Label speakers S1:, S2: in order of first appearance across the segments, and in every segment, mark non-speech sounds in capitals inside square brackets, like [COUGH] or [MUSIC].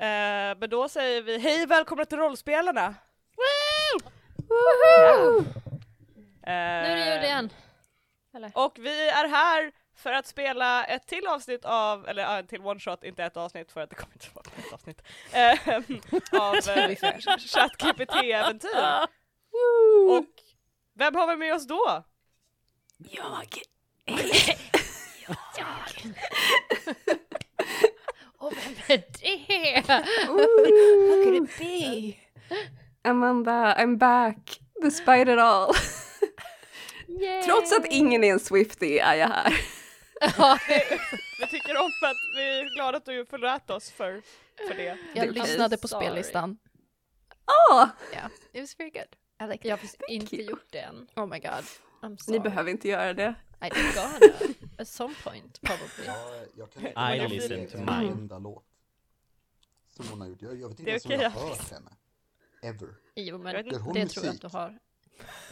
S1: Eh, men då säger vi hej välkomna till rollspelarna!
S2: Woho!
S1: Eh,
S2: Nu är det jul igen.
S1: Och vi är här för att spela ett till avsnitt av, eller ja, en till one shot, inte ett avsnitt för att det kommer inte vara ett avsnitt, eh,
S2: [LAUGHS]
S1: av eh, ChatGPT-äventyr. Och vem har vi med oss då?
S3: Jag.
S2: Och vem är det?
S3: How could it be? Amanda, I'm back. Despite it all.
S2: Yay!
S3: Trots att ingen är en Swiftie är jag här.
S2: [LAUGHS] Ja,
S1: Vi tycker om att vi är glada att du förlät oss för, för det.
S4: Jag
S3: Det är
S4: lyssnade på
S2: sorry.
S4: spellistan.
S3: Ah,
S4: Ja, it was very good. I liked
S2: jag
S4: it.
S2: har faktiskt inte gjort det än.
S4: Oh my god. I'm sorry.
S3: ni behöver inte göra det.
S2: I think gonna at some point probably.
S5: Jag,
S1: [LAUGHS]
S5: jag kan
S1: I
S5: jag kan
S1: listen
S5: inte
S1: to
S5: en
S1: mine.
S5: enda låt som hon har gjort. Jag, jag vet inte
S1: Det är
S5: ens om jag
S1: okej,
S5: har
S1: jag-
S5: hört henne. Ever.
S2: Jo men
S1: Jag vet
S2: det
S1: inte.
S2: tror jag att du har.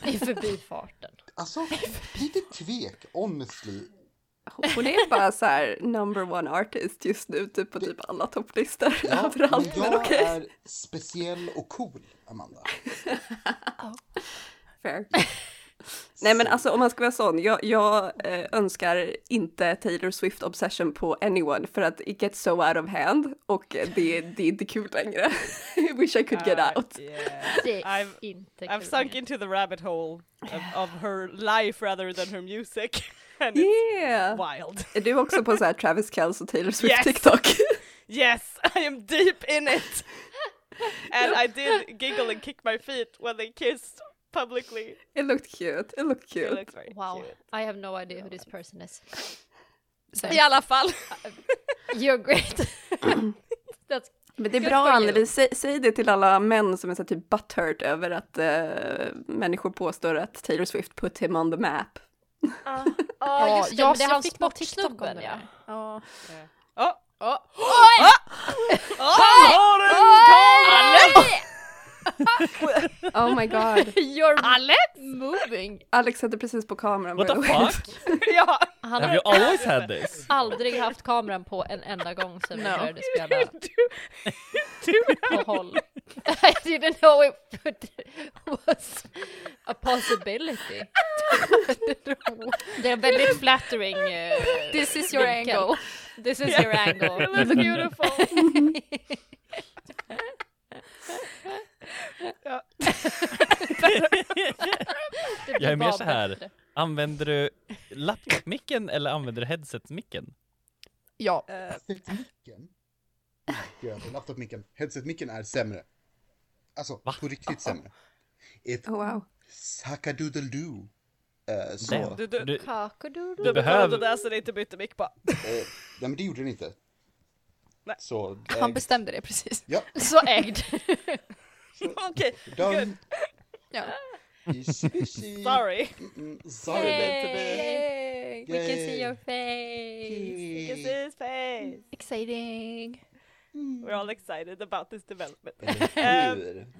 S2: I förbifarten.
S1: [LAUGHS]
S5: Alltså, lite tvek, honestly.
S3: Hon är bara så här number one artist just nu, typ på typ alla topplistor
S5: Ja,
S3: överallt.
S5: men
S3: Men
S5: jag
S3: okej.
S5: är speciell och cool, Amanda.
S3: Fair. Nej men alltså om man ska vara sån, jag, jag eh, önskar inte Taylor Swift obsession på anyone för att it gets so out of hand och eh, det, det är inte kul längre. [LAUGHS] I wish I could get
S1: Ah,
S3: out.
S1: yeah.
S2: Det är
S1: I've-
S2: inte
S1: I've
S2: kul.
S1: sunk [LAUGHS] into the rabbit hole of, of her life rather than her music. And it's
S3: Yeah!
S1: wild.
S3: Är du också på så här Travis Kelce och Taylor Swift
S1: Yes.
S3: TikTok? [LAUGHS]
S1: Yes, I am deep in it. and I did giggle and kick my feet when they kissed publicly.
S3: It looked cute, it looked
S1: It
S3: cute.
S1: looks very
S2: Wow,
S1: cute.
S2: I have no idea who this person [LAUGHS] is.
S4: Sen-
S1: I alla fall.
S2: You're great. [LAUGHS] That's
S3: Men det är
S2: Good
S3: bra
S2: for you.
S3: Anneli, säg, säg det till alla män som är så här typ butthurt över att eh, människor påstår att Taylor Swift put him on the map.
S2: Ja,
S4: just det,
S2: jag
S4: men det är
S2: som
S4: hans
S2: fick bort
S4: sportsnubben,
S2: snubben,
S4: ja.
S3: Ja.
S1: Oh.
S2: Oh.
S3: Oh my god.
S2: [LAUGHS] You're moving!
S3: Alex hade precis på
S1: [LAUGHS]
S3: kameran.
S6: What
S3: by
S6: the
S3: way.
S6: fuck?
S1: ja,
S2: Han
S6: Have you
S2: har
S6: always had this?
S2: aldrig haft kameran på en enda gång sedan vi
S4: No.
S2: började spela
S1: du, du,
S2: [LAUGHS] på håll. I didn't know it would- was a possibility. Det är en väldigt flattering eh,
S4: This is your
S2: vinkel.
S4: angle.
S2: This is your angle. [LAUGHS]
S1: it was beautiful. ja.
S2: Det
S6: [LAUGHS] Jag är mer
S2: var
S6: så här.
S2: bättre.
S6: Använder du laptopmicken eller använder du headsetmicken?
S4: Ja.
S5: Headset-micken. Gud, Laptop-micken. Headset-micken är sämre. Alltså,
S6: Va?
S5: på riktigt sämre. Ett
S3: Oh, wow.
S5: sackadoodledoo. Eh, så.
S6: Damn.
S5: Eh,
S1: Du, du, du,
S6: Du,
S2: Kakadoodle.
S6: du
S1: behövde
S6: behöver...
S1: [LAUGHS] det så det inte bytte mick på.
S5: nej, men det gjorde den inte.
S1: Nej.
S5: Så, eh,
S4: Han bestämde det precis.
S5: Ja,
S2: [LAUGHS] Så ägd.
S1: Okej,
S5: done.
S4: [LAUGHS] Ja.
S5: Is- is-
S1: sorry.
S5: Mm, Sorry, baby.
S4: Yay!
S2: We can see
S5: Yay.
S2: your face.
S1: You see his face.
S4: Exciting!
S1: We're all excited about this development.
S3: Mm.
S5: Eller hur?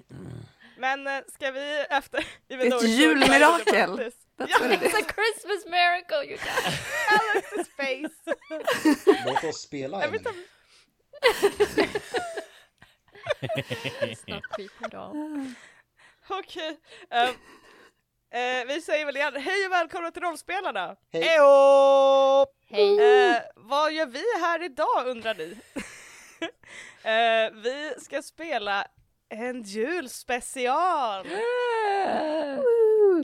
S1: Men eh, ska vi efter... [LAUGHS]
S3: Ett julmirakel. [LAUGHS] That's
S1: Ja,
S3: what it is.
S2: [LAUGHS] It's a Christmas miracle you guys.
S4: [LAUGHS]
S1: Alex's face!
S5: Låt oss spela
S1: Jag
S5: en.
S1: vet inte om-
S2: Snart skiter de.
S1: [LAUGHS] Okej. ehm, eh, vi säger väl igen, hej och välkomna till Rollspelarna!
S5: Hej.
S1: Hejo!
S2: Hej.
S1: Eh, vad gör vi här idag undrar ni? [LAUGHS] eh, vi ska spela en julspecial!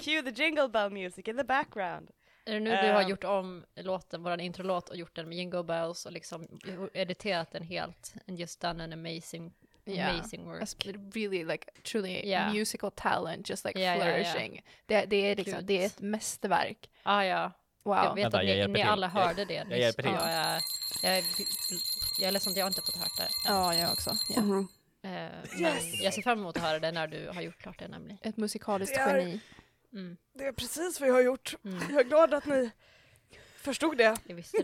S1: Cue the jingle bell music in the background.
S2: Är det nu du har
S1: Ehm.
S2: gjort om låten, våran introlåt och gjort den med Jingle Bells och liksom editerat den helt? And just done an amazing,
S4: Yeah.
S2: amazing work.
S4: Alltså, really like truly
S2: Yeah.
S4: musical talent, just like
S2: Yeah, yeah, yeah.
S4: flourishing. Det, det, är liksom,
S2: Gud.
S4: det är ett mästerverk.
S2: Ah, ja,
S4: Wow.
S2: jag vet
S6: Vänta,
S2: att
S6: jag
S2: ni,
S6: hjälper
S2: ni
S6: till.
S2: alla
S6: Jag-
S2: hörde det
S6: jag
S2: nyss.
S6: hjälper till.
S2: Ja, jag, jag, är, jag är ledsen att jag inte fått hört det.
S4: Ja, jag också. Ja.
S3: Mhm.
S2: Eh, men Jag ser fram emot att höra det när du har gjort klart det nämligen.
S4: Ett musikaliskt
S1: Det är-
S4: geni.
S2: Mm,
S1: Det är precis vad jag har gjort.
S2: mm,
S1: Jag är glad att ni förstod
S4: [LAUGHS]
S1: det. Eh,
S2: [LAUGHS] jag visste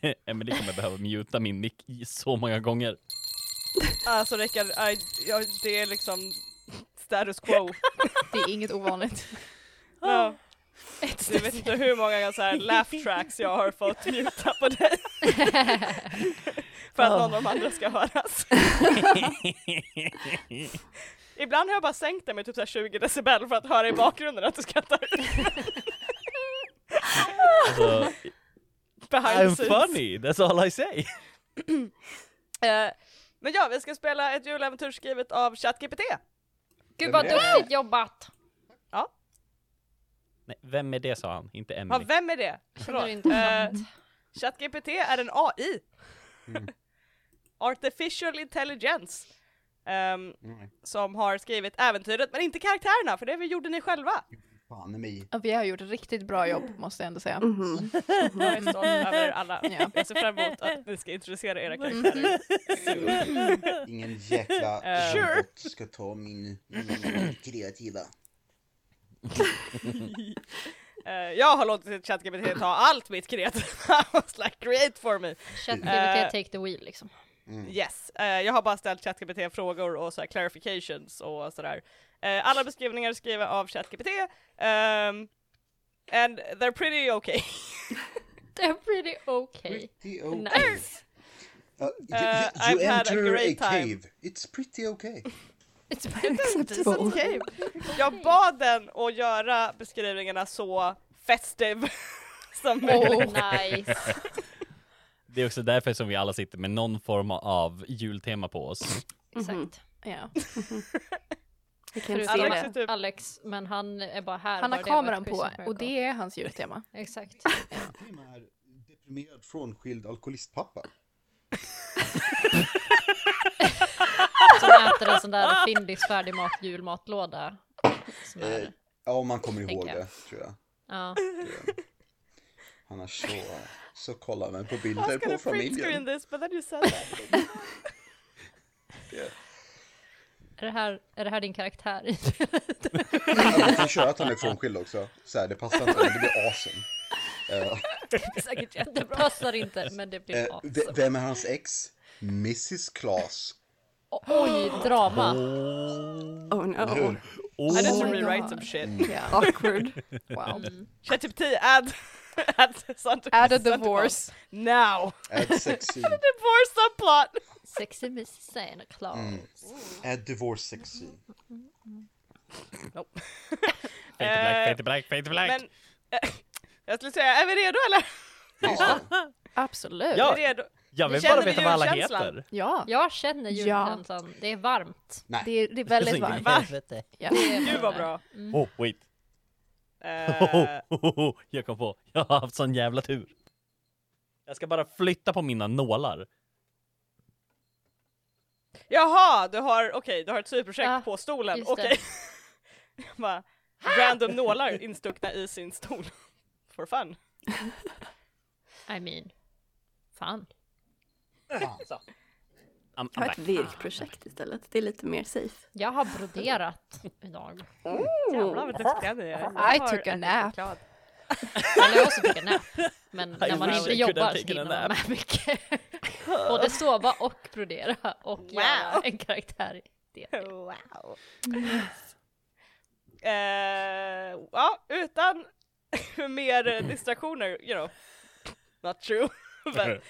S2: det.
S6: Emelie kommer behöva muta min mick i så
S1: [LAUGHS]
S6: många gånger.
S1: Alltså Rickard, I, jag, det är liksom status quo.
S4: Det är inget ovanligt.
S1: [LAUGHS] Ja. Du vet inte hur många så här laugh tracks jag har fått muta på dig. för att någon av de andra ska höras. Ibland har jag bara sänkt den med typ så här 20 decibel för att höra i bakgrunden att du skrattar.
S6: Alltså,
S1: Behind
S6: I'm
S1: the scenes.
S6: funny, that's all I say.
S1: Eh, Men ja, vi ska spela ett juläventyr skrivet av ChatGPT.
S2: [LAUGHS] Gud vad
S5: Vem är det?
S2: duktigt jobbat!
S6: Nej, vem är det sa han, inte
S1: Ja,
S6: Emily.
S1: vem är det?
S2: Känner
S1: Förlåt.
S2: du inte
S1: Eh,
S2: sant?
S1: ChatGPT är en AI. Artificial Intelligence. ehm,
S5: Nej,
S1: som har skrivit äventyret, men inte karaktärerna, för det vi gjorde ni själva.
S5: Fan mig.
S4: Ja, Vi har gjort ett riktigt bra jobb
S2: Mm.
S4: måste jag ändå säga.
S3: Mhm.
S1: Jag är
S2: [LAUGHS]
S1: stolt över alla.
S4: Ja.
S1: Jag ser fram emot att ni ska introducera era
S2: Mm.
S1: karaktärer. [LAUGHS]
S5: Ingen jäkla
S1: Eh,
S5: robot ska ta min, min kreativa.
S1: Eh, jag har låtit ChatGPT ta allt mitt kreativa, [LAUGHS] I was like create for me.
S2: ChatGPT take the wheel [LAUGHS] liksom.
S1: Yes, eh, jag har bara ställt ChatGPT frågor och så här clarifications och sådär. Eh, alla beskrivningar är skrivna av ChatGPT, ehm, and they're pretty okay.
S2: They're pretty okay.
S5: Pretty okay. [LAUGHS]
S2: Nice!
S5: Uh, you
S1: Eh,
S5: you,
S1: I've
S5: you
S1: had a
S5: enter a,
S1: great time.
S5: cave. It's pretty okay.
S2: It's
S3: Acceptable.
S1: Okej. Jag bad den att göra beskrivningarna så festive [LAUGHS] som möjligt.
S2: Oh
S5: [LAUGHS]
S2: nice!
S6: Det är också därför som vi alla sitter med någon form av jultema på oss.
S5: Mhm.
S2: Exakt.
S4: Ja.
S3: Vi kan se
S1: Alex
S3: det.
S1: är typ,
S2: Alex, men han är bara här.
S4: Han
S2: bara
S4: har
S2: det var ett
S4: kameran
S2: quiz
S4: på
S2: som förekom.
S4: och det är hans jultema.
S2: Exakt.
S5: Tim är deprimerad frånskild alkoholistpappa.
S2: Som äter en sån [LAUGHS] där Findis färdigmat julmatlåda. Som
S5: Eh,
S2: är,
S5: ja, om man kommer ihåg
S2: Tänker jag.
S5: det, tror jag.
S2: ja.
S5: Annars så, så kollar man på
S1: I
S5: bilder
S1: was
S5: på
S1: gonna print
S5: familjen.
S1: screen this but then you said that.
S2: är, det här, är det här din karaktär?
S5: Ja, Man kan köra att han är frånskild också. Så här, det passar inte, men det blir awesome. Eh,
S2: Säkert Det passar inte, men det blir
S5: eh,
S2: bra.
S5: v- vem är hans ex? Mrs Claes.
S2: Oj, drama.
S3: Oh no.
S5: Hur?
S1: I need to
S4: my
S1: rewrite
S4: God.
S1: some shit.
S4: Ja.
S3: [LAUGHS] Awkward.
S4: Wow.
S2: Mm.
S1: ChatGPT add, [LAUGHS] add, Santa-
S4: Add a
S1: Santa Claus.
S4: divorce.
S1: Now!
S5: Add sexy.
S1: Divorce subplot!
S2: Sexy Miss Santa Claus.
S1: Mm.
S5: Add divorce sexy.
S6: Fade to black, fade to black, fade to black.
S1: Eh, Men, eh, [LAUGHS] jag skulle säga, är vi redo eller?
S5: Just det.
S1: [LAUGHS]
S4: Absolut.
S1: Är
S6: Ja.
S1: vi redo?
S6: jag
S1: ni
S6: vill
S1: känner
S6: bara veta vad alla
S1: julkänslan?
S6: heter.
S4: Ja.
S2: Jag känner julkänslan. Det är varmt.
S5: Nej.
S4: Det är, det är väldigt varmt. Ja.
S1: Gud vad bra.
S6: [LAUGHS] Oh, wait. Oh.
S1: Eh,
S6: [LAUGHS] Jag kom på, jag har haft sån jävla tur. Jag ska bara flytta på mina nålar.
S1: Jaha, du har, okej, du har ett syprojekt
S2: Ja,
S1: på stolen,
S2: just det.
S1: okej. [LAUGHS] Jag bara, random nålar instuckna i sin stol. [LAUGHS] For fun.
S2: I mean, fan.
S6: I'm,
S3: Jag har ett virkprojekt istället. Det är lite mer safe.
S2: Jag har broderat idag. Oh.
S1: Jävlar vad duktiga ni är.
S4: I took a nap.
S2: Eller jag också fick en nap. Men när man
S6: wish
S2: inte
S6: I could
S2: jobbar
S6: have
S2: så
S6: taken a
S2: hinner man
S6: nap.
S2: med mycket. Både sova och brodera och göra en karaktär. i Det.
S1: Wow. Eh, ja, utan [LAUGHS] mer eh, distraktioner, you know. Not true. [LAUGHS] Men,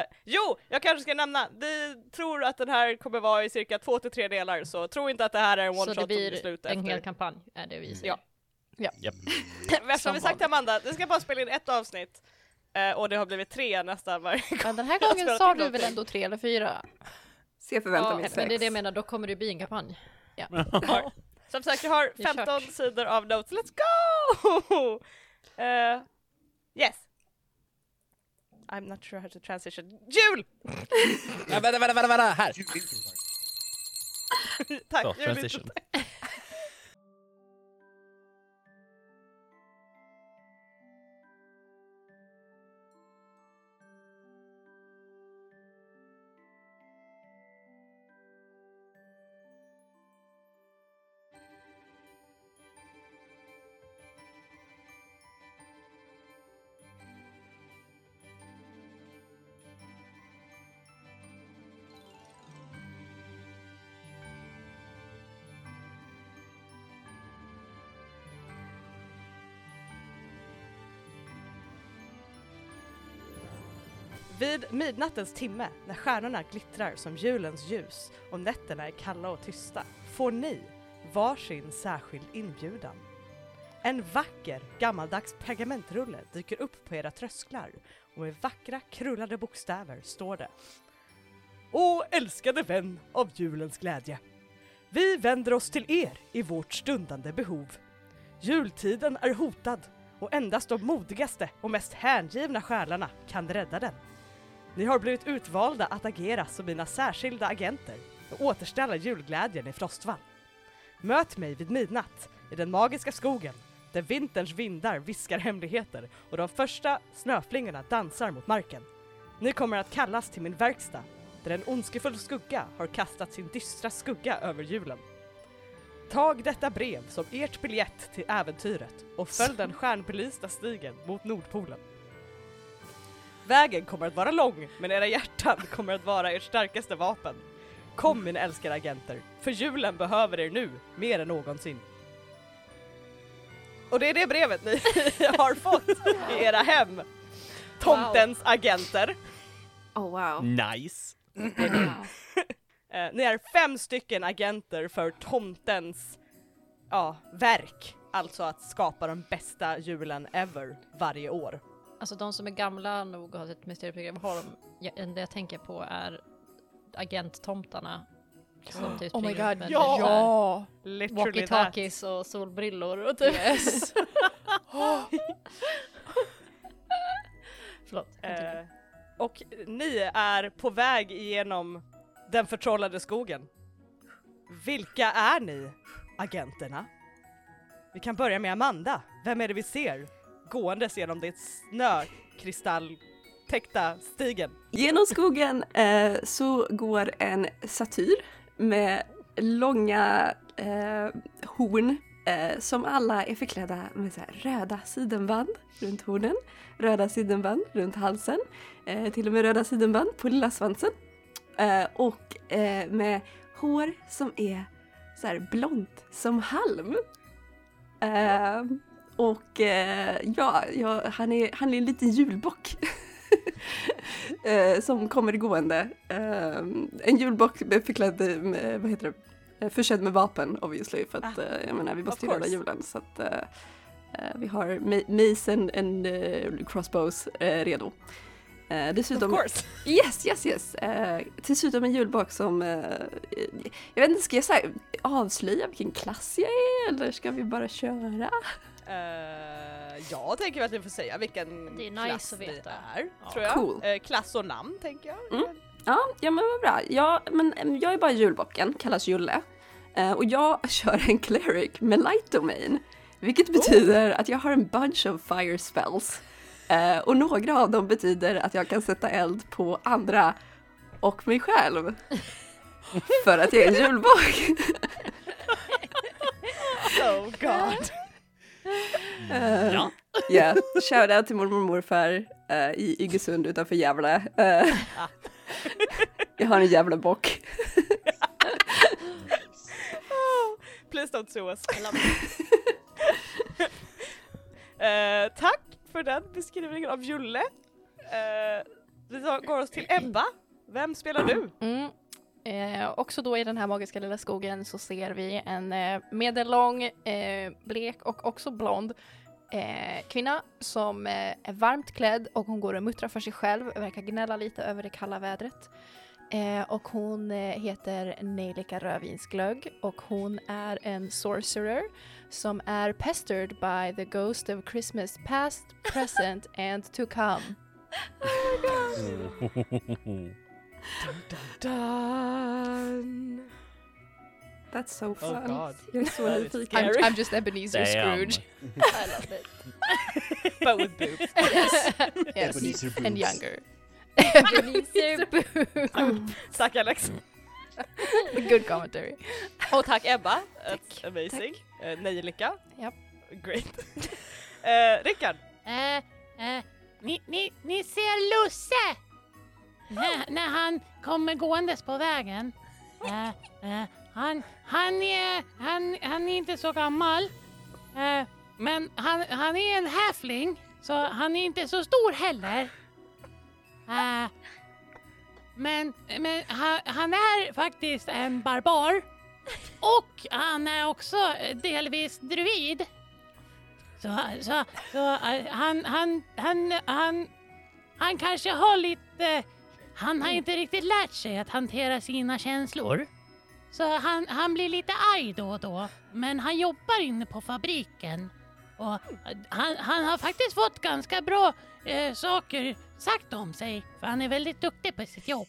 S1: eh, jo, jag kanske ska nämna, vi tror att den här kommer vara i cirka två till tre delar, så tro inte att det här är en one
S2: Så
S1: shot
S2: det
S1: som blir
S2: blir
S1: slut
S2: en hel
S1: efter. Mm.
S2: kampanj, är det vi säger.
S1: Ja.
S6: Japp.
S1: Eftersom
S4: Som
S1: vi sagt till Amanda, vi ska bara spela in ett avsnitt, eh, och det har blivit tre nästan varje gång.
S4: Men den här
S1: Jag
S4: gången
S1: spelar
S4: sa
S1: till
S4: du väl
S1: någonting.
S4: ändå tre eller fyra?
S3: Se förväntar mig
S2: Ja, men det är det jag
S3: sex.
S2: menar, då kommer det bli en kampanj.
S1: Som sagt, jag har
S2: Vi
S1: 15
S2: kört.
S1: sidor av notes, let's go! [LAUGHS] Eh, yes. I'm not sure how to transition. Jul! [LAUGHS]
S6: Ja, vänta, vänta, vänta, vänta, här!
S1: Tack,
S6: Så,
S1: jul är
S6: transition.
S1: inte- Vid midnattens timme, när stjärnorna glittrar som julens ljus och nätterna är kalla och tysta, får ni varsin särskild inbjudan. En vacker gammaldags pergamentrulle dyker upp på era trösklar och med vackra krullade bokstäver står det Åh älskade vän av julens glädje! Vi vänder oss till er i vårt stundande behov. Jultiden är hotad och endast de modigaste och mest hängivna själarna kan rädda den. Ni har blivit utvalda att agera som mina särskilda agenter och återställa julglädjen i Frostvall. Möt mig vid midnatt i den magiska skogen där vinterns vindar viskar hemligheter och de första snöflingorna dansar mot marken. Ni kommer att kallas till min verkstad där en ondskefull skugga har kastat sin dystra skugga över julen. Tag detta brev som ert biljett till äventyret och följ den stjärnbelysta stigen mot Nordpolen. Vägen kommer att vara lång, men era hjärtan kommer att vara ert starkaste vapen. Kom mina älskade agenter, för julen behöver er nu mer än någonsin. Och det är det brevet ni [LAUGHS] har fått i era hem. Tomtens agenter.
S3: Oh wow.
S6: Nice.
S1: Eh, ni är fem stycken agenter för tomtens ja, verk. Alltså att skapa den bästa julen ever varje år.
S2: Alltså de som är gamla nog och har ett mysterieprogram har de, ja, det jag tänker på är agenttomtarna. Som typ
S4: Oh my
S2: springer runt med
S4: god, ja!
S2: så här
S4: ja.
S1: Literally that.
S2: Walkie-talkies och solbrillor och typ.
S4: Yes.
S2: [LAUGHS]
S4: [GASPS]
S2: Förlåt. typ
S1: Eh, och ni är på väg igenom den förtrollade skogen. Vilka är ni, agenterna? Vi kan börja med Amanda. Vem är det vi ser gåendes genom det snökristalltäckta stigen?
S3: Genom skogen eh, så går en satyr med långa eh, horn eh, som alla är förklädda med så här röda sidenband runt hornen, röda sidenband runt halsen, eh, till och med röda sidenband på lilla svansen eh, och eh, med hår som är så här blont som halm. Eh, och eh, ja, ja han, är, han är en liten julbock. [LAUGHS] eh, som kommer gående. Eh, en julbock med förklädd, med, vad heter det, eh, försedd med vapen obviously. För att
S1: Ah,
S3: eh, jag menar, vi måste ju
S1: course.
S3: rädda julen. Så att, eh, eh, vi har ma- mace and, and eh, crossbows eh, redo. Eh,
S1: Of
S3: dessutom
S1: course!
S3: Yes, yes, yes. Eh, dessutom en julbak som... eh, jag vet inte, ska jag så här, avslöja vilken klass jag är eller ska vi bara köra?
S1: Eh, jag tänker att ni får säga vilken
S2: Det är nice
S1: klass
S2: att veta.
S1: ni är. tror jag.
S3: Cool.
S1: Eh, klass och namn tänker jag.
S3: Mm. Ja, ja men vad bra. Ja, men em, jag är bara julbocken, kallas Julle. Eh, och jag [LAUGHS] kör en cleric med light domain. Vilket betyder att jag har en bunch of fire spells. Eh, och några av dem betyder att jag kan sätta eld på andra och mig [LAUGHS] själv. För att jag är en julbock.
S1: Oh god.
S3: Eh,
S6: Ja.
S3: Ja, shoutout till mormor och morfar eh, i Iggesund utanför Gävle. [LAUGHS] Eh, jag har en Gävlebock.
S1: Please don't sue us. [LAUGHS] Eh, tack för den beskrivningen av Julle. Eh, vi tar- går oss till Ebba. Vem spelar du?
S4: Mm. Eh, också då i den här magiska lilla skogen så ser vi en eh, medellång, eh, blek och också blond eh, kvinna som eh, är varmt klädd och hon går och muttrar för sig själv, verkar gnälla lite över det kalla vädret. Eh, och hon eh, heter Nejlika Rödvinsglögg och hon är en sorcerer som är pestered by the ghost of Christmas past, present and to come.
S1: Dun.
S3: That's so fun.
S6: Oh god.
S3: Jag är så
S6: That is
S3: nyfiken.
S4: I'm,
S1: Eric.
S4: I'm just Ebenezer Scrooge. [LAUGHS]
S2: I love it.
S1: But with boobs.
S4: yes. [LAUGHS] yes.
S5: Ebenezer
S4: And
S5: Scrooge.
S4: younger.
S2: Ebenezer Boo.
S1: Tack Alex.
S4: Good commentary.
S1: Och tack Ebba. That's amazing. Eh, Nejlika.
S4: Japp.
S1: Great. [LAUGHS] Eh, Rickard.
S7: Eh, eh, ni, ni, ni ser Lusse! [LAUGHS] När, när han kommer gåendes på vägen. Eh, eh, han, han, är, han, han är inte så gammal. Eh, men han, han är en häfling, så han är inte så stor heller. Eh, men men han, han är faktiskt en barbar. Och han är också eh, delvis druid. Så, så, så eh, han, han, han, han, han kanske har lite... Han har inte riktigt lärt sig att hantera sina känslor. Så han, han blir lite arg då och då. Men han jobbar inne på fabriken. Och eh, han, han har faktiskt fått ganska bra eh, saker sagt om sig. För han är väldigt duktig på sitt jobb.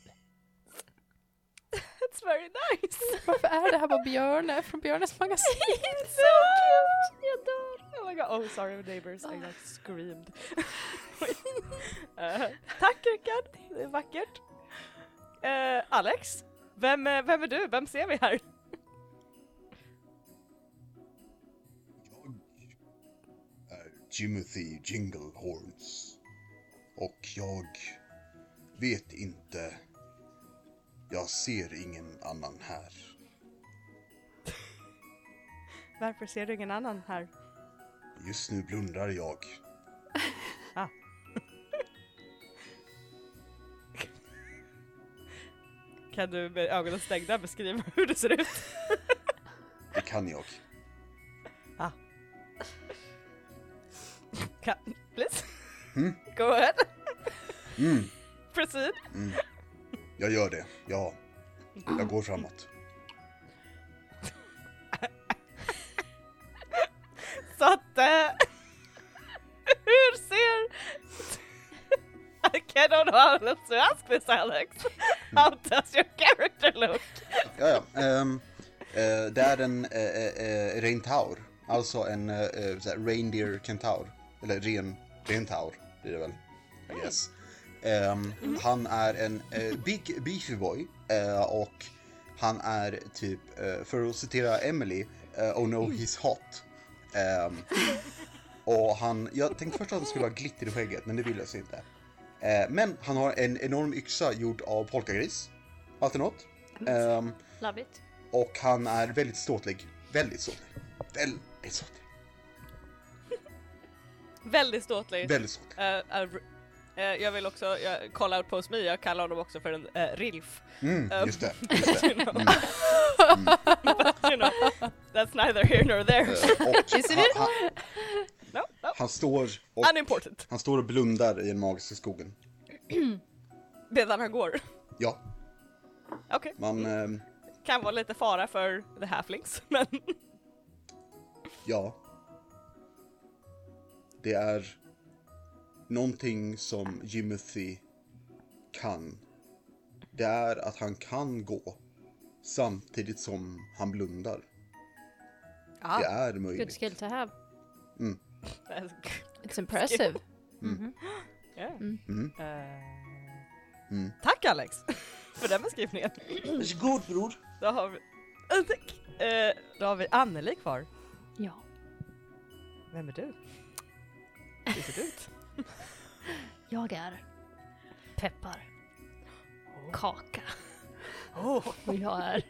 S1: That's very nice!
S4: Varför är det här bara Björne från
S1: [LAUGHS]
S4: Björnes magasin?
S1: It's so cute! Jag dör! Oh my god, oh sorry neighbors, I got [LAUGHS] screamed. Eh, tack Rickard, det är vackert. Eh, Alex, vem, eh, vem är du? Vem ser vi här?
S5: är Jimothy Jinglehorns. Och jag vet inte. Jag ser ingen annan här.
S1: Varför ser du ingen annan här?
S5: Just nu blundar jag.
S1: Kan du med ögonen stängda beskriva hur det ser ut?
S5: Det kan jag.
S1: Kan, please?
S5: Mm.
S1: Go ahead, [LAUGHS]
S5: Mm,
S1: proceed.
S5: mm. Jag gör det. Ja. Jag går framåt.
S1: Så att... eh, [LAUGHS] hur ser... [LAUGHS] I cannot how to ask this [LAUGHS] Alex. How does your character look?
S5: Ja, ja. ehm, eh, det är en eh, eh, eh, rentaur. Alltså en eh, eh, såhär reindeer kentaur. Eller ren rentaur blir det väl. I guess. Ehm, han är en eh, big beefy boy. eh, och han är typ, eh, för att citera Emily, eh, oh no he's hot. Ehm, och han, jag tänkte först att han skulle ha glitter i skägget men det vill jag så inte. Eh, men han har en enorm yxa gjord av polkagris. Allt i något. Ehm,
S2: Love it.
S5: och han är väldigt ståtlig. Väldigt ståtlig. Väldigt ståtlig.
S1: Väldigt ståtlig.
S5: Väldigt ståtlig.
S1: Eh, eh, eh, jag vill också, jag kollar out post me, jag kallar honom också för en eh, [LAUGHS] rilf.
S5: Mm,
S1: Ehm.
S5: just det. Just det. Mm.
S1: [LAUGHS] You know, that's neither here nor there.
S5: Eh, Och han, han,
S1: No, no.
S5: han, står och,
S1: Unimportant.
S5: han står och blundar i den magiska skogen.
S1: Medan han går.
S5: Ja,
S1: Okej,
S5: man...
S1: Mm.
S5: ehm,
S1: kan vara lite fara för the halflings, [LAUGHS] men
S5: Ja. Det är någonting som Jimothy kan. Det är att han kan gå samtidigt som han blundar.
S1: Ah.
S5: Det är
S2: Good
S5: möjligt.
S2: skill to have.
S4: It's impressive.
S1: Ja.
S5: Mm.
S1: Eh,
S5: Mm.
S1: Tack Alex! För den beskrivningen.
S5: Varsågod bror.
S1: Då har vi... Eh, tack. Eh, Då har vi Anneli kvar.
S2: Ja.
S1: Vem är du? Hur ser du [LAUGHS] ut?
S2: Jag är peppar. Kaka.
S1: Oh.
S2: Och jag är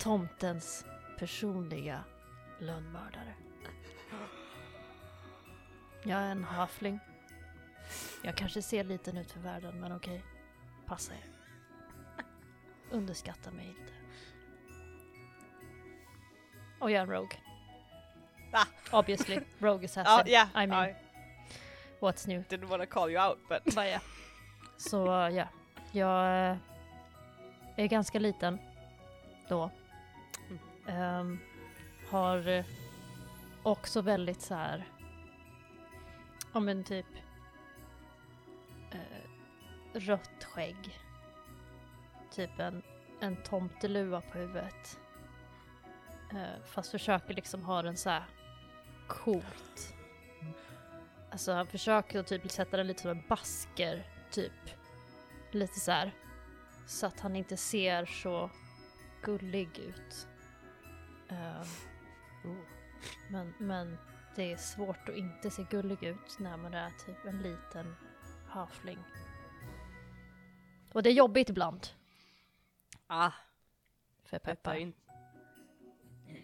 S2: tomtens personliga lönnmördare. Jag är en hafling. Jag kanske ser liten ut för världen, men okej. Passa er. Underskatta mig inte. Och jag är en rogue.
S1: Ah.
S2: Obviously, rogue
S1: Ja,
S2: assassin.
S1: ja.
S2: I mean,
S1: I
S2: what's new?
S1: didn't wanna call you out but...
S2: Bara ja. Så ja, jag eh, är ganska liten då. Ehm, har eh, också väldigt så här, ja men typ eh, rött skägg. Typ en, en tomteluva på huvudet. Eh, fast försöker liksom ha den så här coolt. Alltså han försöker att typ sätta den lite som en basker, typ. Lite så här. Så att han inte ser så gullig ut. Ehm, men, men det är svårt att inte se gullig ut när man är typ en liten hafling. Och det är jobbigt ibland.
S1: [LAUGHS] Ah,
S2: För
S1: peppar
S2: Peppa.
S1: in.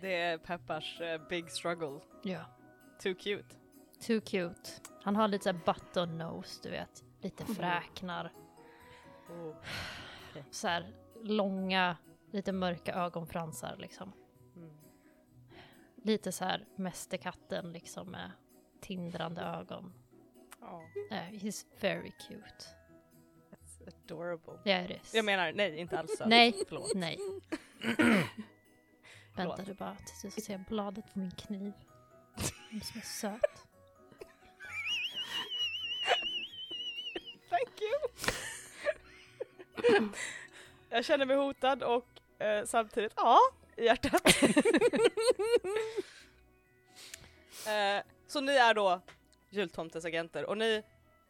S1: Det är Peppars eh, big struggle.
S2: Ja.
S1: Too cute.
S2: Too cute. Han har lite såhär button nose, du vet. lite
S1: Mm.
S2: fräknar.
S1: Oh.
S2: Så här långa, lite mörka ögonfransar liksom.
S1: Mm.
S2: Lite så här mästerkatten liksom med tindrande ögon.
S1: Ja,
S2: Eh, he's very cute.
S1: it's adorable.
S2: Yeah, it is.
S1: Jag menar, nej inte alls söt.
S2: Nej.
S1: Förlåt. [CLEARS THROAT]
S2: Nej. Vänta du bara tills du ser bladet på
S1: [LAUGHS]
S2: min kniv. Den som är söt.
S1: Thank you! [LAUGHS] jag känner mig hotad och eh, samtidigt, ja, i hjärtat. [LAUGHS] eh, så ni är då jultomtens agenter och ni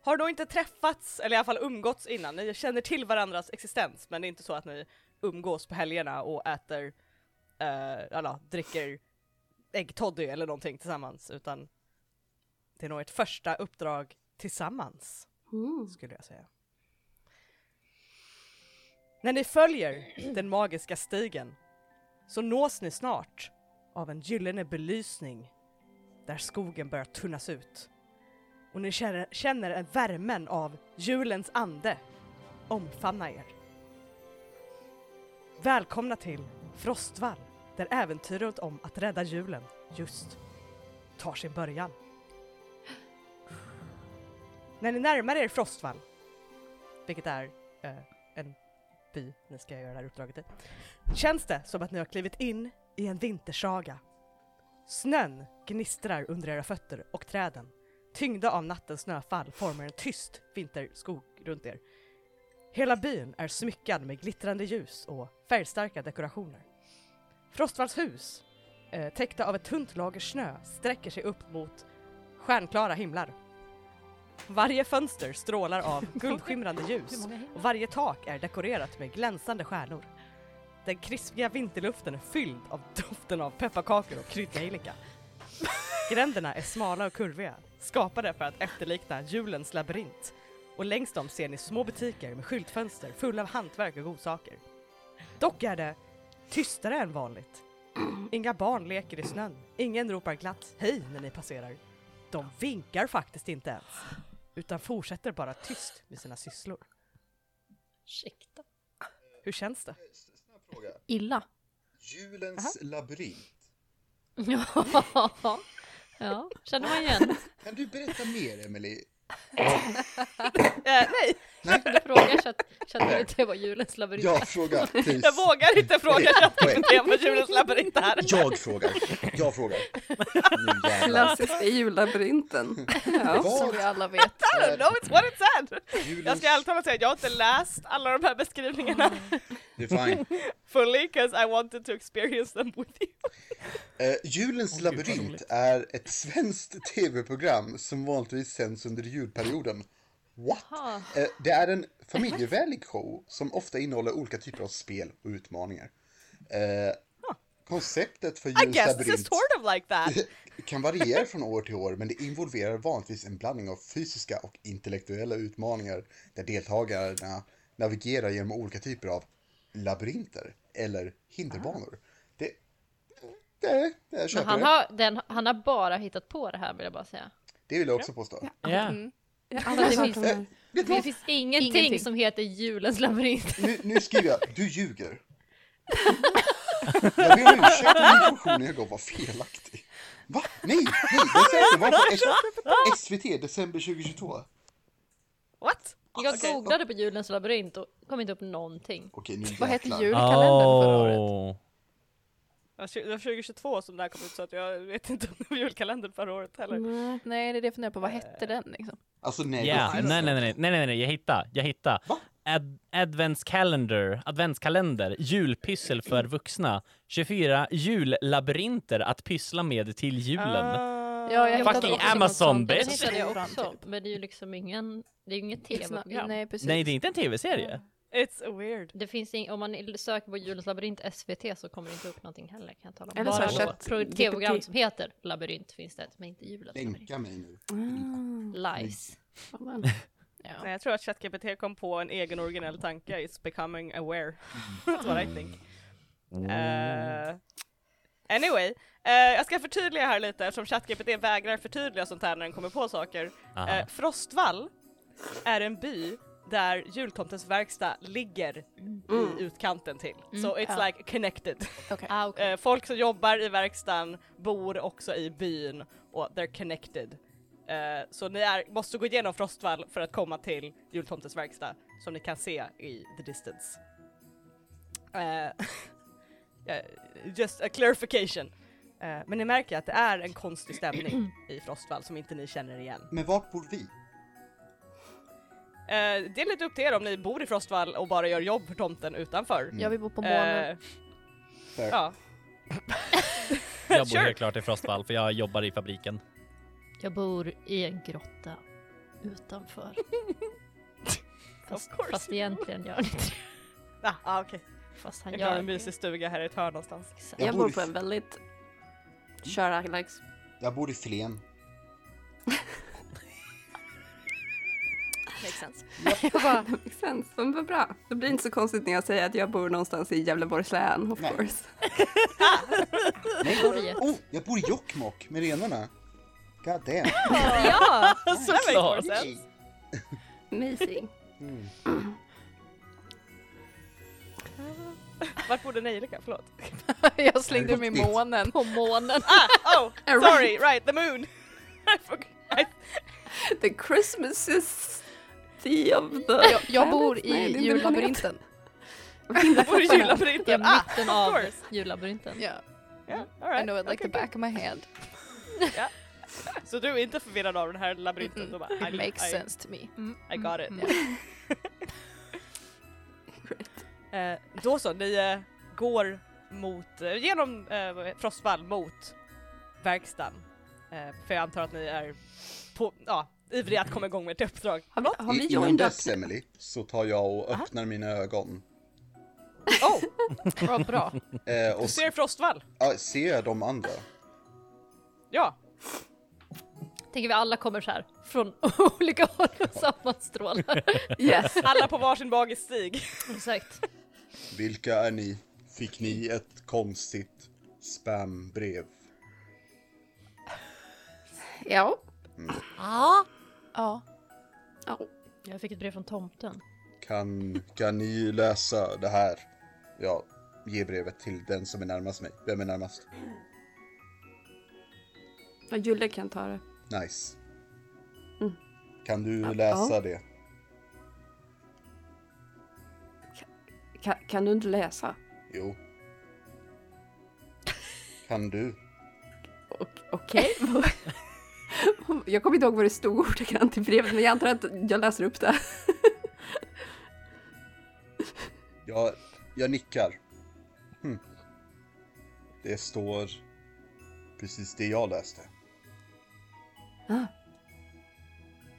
S1: har då inte träffats, eller i alla fall umgåtts innan. Ni känner till varandras existens men det är inte så att ni umgås på helgerna och äter, eh, alla, dricker äggtoddy eller någonting tillsammans utan det är nog ert första uppdrag tillsammans skulle jag säga. När ni följer den magiska stigen så nås ni snart av en gyllene belysning där skogen börjar tunnas ut och ni känner, känner en värmen av julens ande omfamna er. Välkomna till Frostvall där äventyret om att rädda julen just tar sin början. När ni närmar er Frostvall, vilket är eh, en by ni ska göra det här uppdraget i, känns det som att ni har klivit in i en vintersaga. Snön gnistrar under era fötter och träden. Tyngda av nattens snöfall formar en tyst vinterskog runt er. Hela byn är smyckad med glittrande ljus och färgstarka dekorationer. Frostvalls hus, eh, täckta av ett tunt lager snö, sträcker sig upp mot stjärnklara himlar. Varje fönster strålar av guldskimrande ljus och varje tak är dekorerat med glänsande stjärnor. Den krispiga vinterluften är fylld av doften av pepparkakor och kryddnejlika. Gränderna är smala och kurviga, skapade för att efterlikna julens labyrint. Och längs dem ser ni små butiker med skyltfönster fulla av hantverk och godsaker. Dock är det tystare än vanligt. Inga barn leker i snön, ingen ropar glatt hej när ni passerar. De vinkar faktiskt inte ens, utan fortsätter bara tyst med sina sysslor.
S2: Ursäkta.
S1: Hur känns det?
S5: Snabb fråga.
S2: Illa.
S5: Julens labyrint.
S2: ja. ja, känner man igen.
S5: Kan
S1: [LAUGHS]
S5: du berätta mer, Emily?
S1: Eh, nej,
S2: Du frågar så att, så att det- det var julens labyrint.
S5: Jag frågar, please.
S1: jag vågar inte
S5: [LAUGHS]
S1: fråga
S5: Okej, okej.
S1: köttkommittén vad julens labyrint är.
S5: Jag frågar. Jag frågar. Nu jävlar.
S3: Klassiska [LAUGHS] jullabyrinten. Ja.
S4: Som vi
S5: Var
S4: alla vet. [LAUGHS]
S1: I don't know, it's what it said! Jag
S5: julens...
S1: ska ärligt talat säga att jag har inte läst alla de här beskrivningarna
S5: Det är fine.
S1: fully, 'cause I wanted to experience them with you.
S5: Eh, julens
S6: Åh, gud, vad
S5: labyrint
S6: roligt.
S5: är ett svenskt tv-program som vanligtvis sänds under julperioden. What?
S2: Jaha.
S5: Eh, det är en familjevänlig show som ofta innehåller olika typer av spel och utmaningar. Eh, konceptet för
S1: I
S5: julens
S1: guess this is
S5: labyrint
S1: sort of like that.
S5: kan variera från år till år, men det involverar vanligtvis en blandning av fysiska och intellektuella utmaningar där deltagarna navigerar genom olika typer av labyrinter eller hinderbanor. Det, det, det jag
S2: Men
S5: köper
S2: han,
S5: det.
S2: har, den, han har bara hittat på det här vill jag bara säga.
S5: Det vill jag också påstå.
S6: Ja.
S3: Jag har aldrig hört om det.
S2: Det finns ingenting,
S4: Ingenting.
S2: som heter julens labyrint.
S5: Nu, nu skriver jag, du ljuger. Jag ber om ursäkt om informationen jag gav var felaktig. Va? Nej, nej, jag säger det var på S- SVT december 2022.
S1: What?
S2: Jag googlade på julens labyrint och kom inte upp någonting.
S5: Okej, nu
S4: Vad hette
S5: jäklar.
S4: julkalendern förra året?
S6: Åh.
S1: Det var 2022 som det här kom ut så att jag vet inte om det var julkalendern förra året heller.
S3: Nej.
S4: Nej, det är det jag funderar på. Vad hette den liksom?
S5: Alltså nej,
S6: Ja,
S5: det
S6: nej,
S5: finns
S6: nej, nej,
S5: inte.
S6: nej, nej, nej, nej, jag hittar, jag hittar.
S5: Va?
S6: Ad, adventskalender, adventskalender, julpyssel för vuxna, 24 jullabyrinter att pyssla med till julen.
S1: Ah,
S4: Ja, jag hittade
S6: Fucking
S4: också något
S6: Amazon,
S4: sånt.
S6: bitch.
S2: Det
S6: Det
S4: Jag
S2: hittade
S4: hittade
S2: jag
S4: typ det
S2: också,
S4: fram, typ.
S2: men det är ju liksom ingen, det är ju inget
S4: It's not-
S2: tv-program.
S4: Nej, precis.
S6: Nej, det är inte en tv-serie.
S1: It's weird.
S2: Det finns ing- om man söker på julens labyrint SVT så kommer det inte upp någonting heller kan jag tala om.
S3: Eller så
S2: Bara
S3: har
S2: på
S3: sett
S2: pro-
S3: GPT.
S2: tv-program som heter labyrint finns det, men inte julens labyrint.
S5: Länka mig nu.
S2: Lies.
S1: Nej, jag tror att ChatGPT kom på en egen originell tanke, it's becoming aware. [LAUGHS] That's what I think. Eh, anyway, eh, jag ska förtydliga här lite eftersom ChatGPT vägrar förtydliga sånt här när den kommer på saker.
S6: Aha.
S1: Eh, Frostvall är en by där jultomtens verkstad ligger
S3: Mm.
S1: i utkanten till.
S2: Mm,
S1: so it's
S2: ja.
S1: like connected.
S4: Okej.
S2: Ah, okej.
S1: Eh, folk som jobbar i verkstaden bor också i byn och they're connected. Eh, så ni är, måste gå igenom Frostvall för att komma till jultomtens verkstad som ni kan se i the distance. Eh, [LAUGHS] eh, just a clarification. Eh, men ni märker att det är en konstig
S2: [CLEARS THROAT]
S1: stämning i Frostvall som inte ni känner igen.
S5: Men var bor vi?
S1: Eh, det är lite upp till er om ni bor i Frostvall och bara gör jobb för tomten utanför.
S5: Mm.
S4: Jag vill bo på månen.
S1: Eh,
S5: Fair.
S1: ja.
S6: Jag bor
S1: Sure.
S6: helt klart i Frostfall för jag jobbar i fabriken.
S2: Jag bor i en grotta [LAUGHS] utanför. Fast,
S1: course
S2: fast
S1: you do.
S2: egentligen gör han inte det.
S1: Ah, ah, okej.
S2: Fast han
S1: Jag har
S2: gör
S1: en mysig
S2: det.
S1: stuga här i ett hörn någonstans.
S2: Exakt.
S5: Jag
S3: Jag
S5: bor
S3: bor
S5: i-
S3: på en väldigt... Kör Alex.
S5: Jag bor i Flen.
S3: Makes sense. Makes sense. Men vad bra. Det blir inte så konstigt när jag säger att jag bor någonstans i Gävleborgs län, of
S5: Nej.
S3: course.
S5: Nej,
S2: Torget.
S5: oh, jag bor i Jokkmokk med renarna. God damn.
S2: Ja!
S6: Såklart!
S5: Yay.
S3: Amazing.
S5: Mm.
S1: Vart bodde Nejlika? Förlåt.
S4: [LAUGHS] jag slängde
S5: Nej,
S4: mig i
S5: riktigt.
S4: månen.
S2: På månen.
S1: Ah, [LAUGHS] oh! Sorry, right, the [LAUGHS] moon! I forgot. I-
S3: [LAUGHS] The Christmas is the of the...
S4: Jag, jag bor
S3: Nej, det är
S4: i
S3: inte
S4: [LAUGHS] jullabyrinten.
S1: Jag bor i
S2: I
S1: jullabyrinten! Ah,
S2: mitten
S1: of
S2: av
S1: course!
S2: jullabyrinten.
S4: Yeah,
S1: Yeah, all
S4: I
S1: right.
S4: know it like
S1: okay,
S4: the back of my hand.
S1: good. Så du är inte förvirrad av den här labyrinten? Du bara,
S4: It
S1: I,
S4: makes
S1: I,
S4: sense to me. Mm,
S1: I got it.
S4: mm.
S1: [LAUGHS] Eh, då så, ni eh, går mot, eh, genom eh, vad heter- Frostvall mot verkstaden. Eh, för jag antar att ni är på, ja, ivriga att komma igång med ett
S3: [LAUGHS]
S1: uppdrag.
S3: Har vi, har vi
S5: I- Innan
S3: joined up?
S5: dess, Emily, så tar jag och öppnar mina ögon.
S1: Oh,
S4: Bra, bra.
S5: Eh, och
S1: du
S5: s-
S1: ser Frostvall!
S5: ja, ser jag de andra?
S1: Ja,
S2: Tänker vi alla kommer så här från [LAUGHS] olika håll och [LAUGHS] sammanstrålar.
S3: Yes.
S1: alla på varsin bagis stig.
S2: Exakt.
S5: Vilka är ni? Fick ni ett konstigt spambrev?
S3: ja.
S7: Ja,
S4: Ja.
S3: Ja.
S2: Jag fick ett brev från tomten.
S5: Kan, kan ni läsa det här? Ja, ge brevet till den som är närmast mig. Vem är närmast?
S3: Ja, Julle kan ta det.
S5: Nice.
S3: Mm.
S5: Kan du läsa
S3: ja.
S5: det?
S3: Kan, kan du inte läsa?
S5: Jo. Kan du?
S3: Och- [LAUGHS] Okej. jag kommer inte ihåg vad det stod ordagrant i brevet, men jag antar att jag läser upp det.
S5: Jag, jag nickar. Hm. Det står precis det jag läste.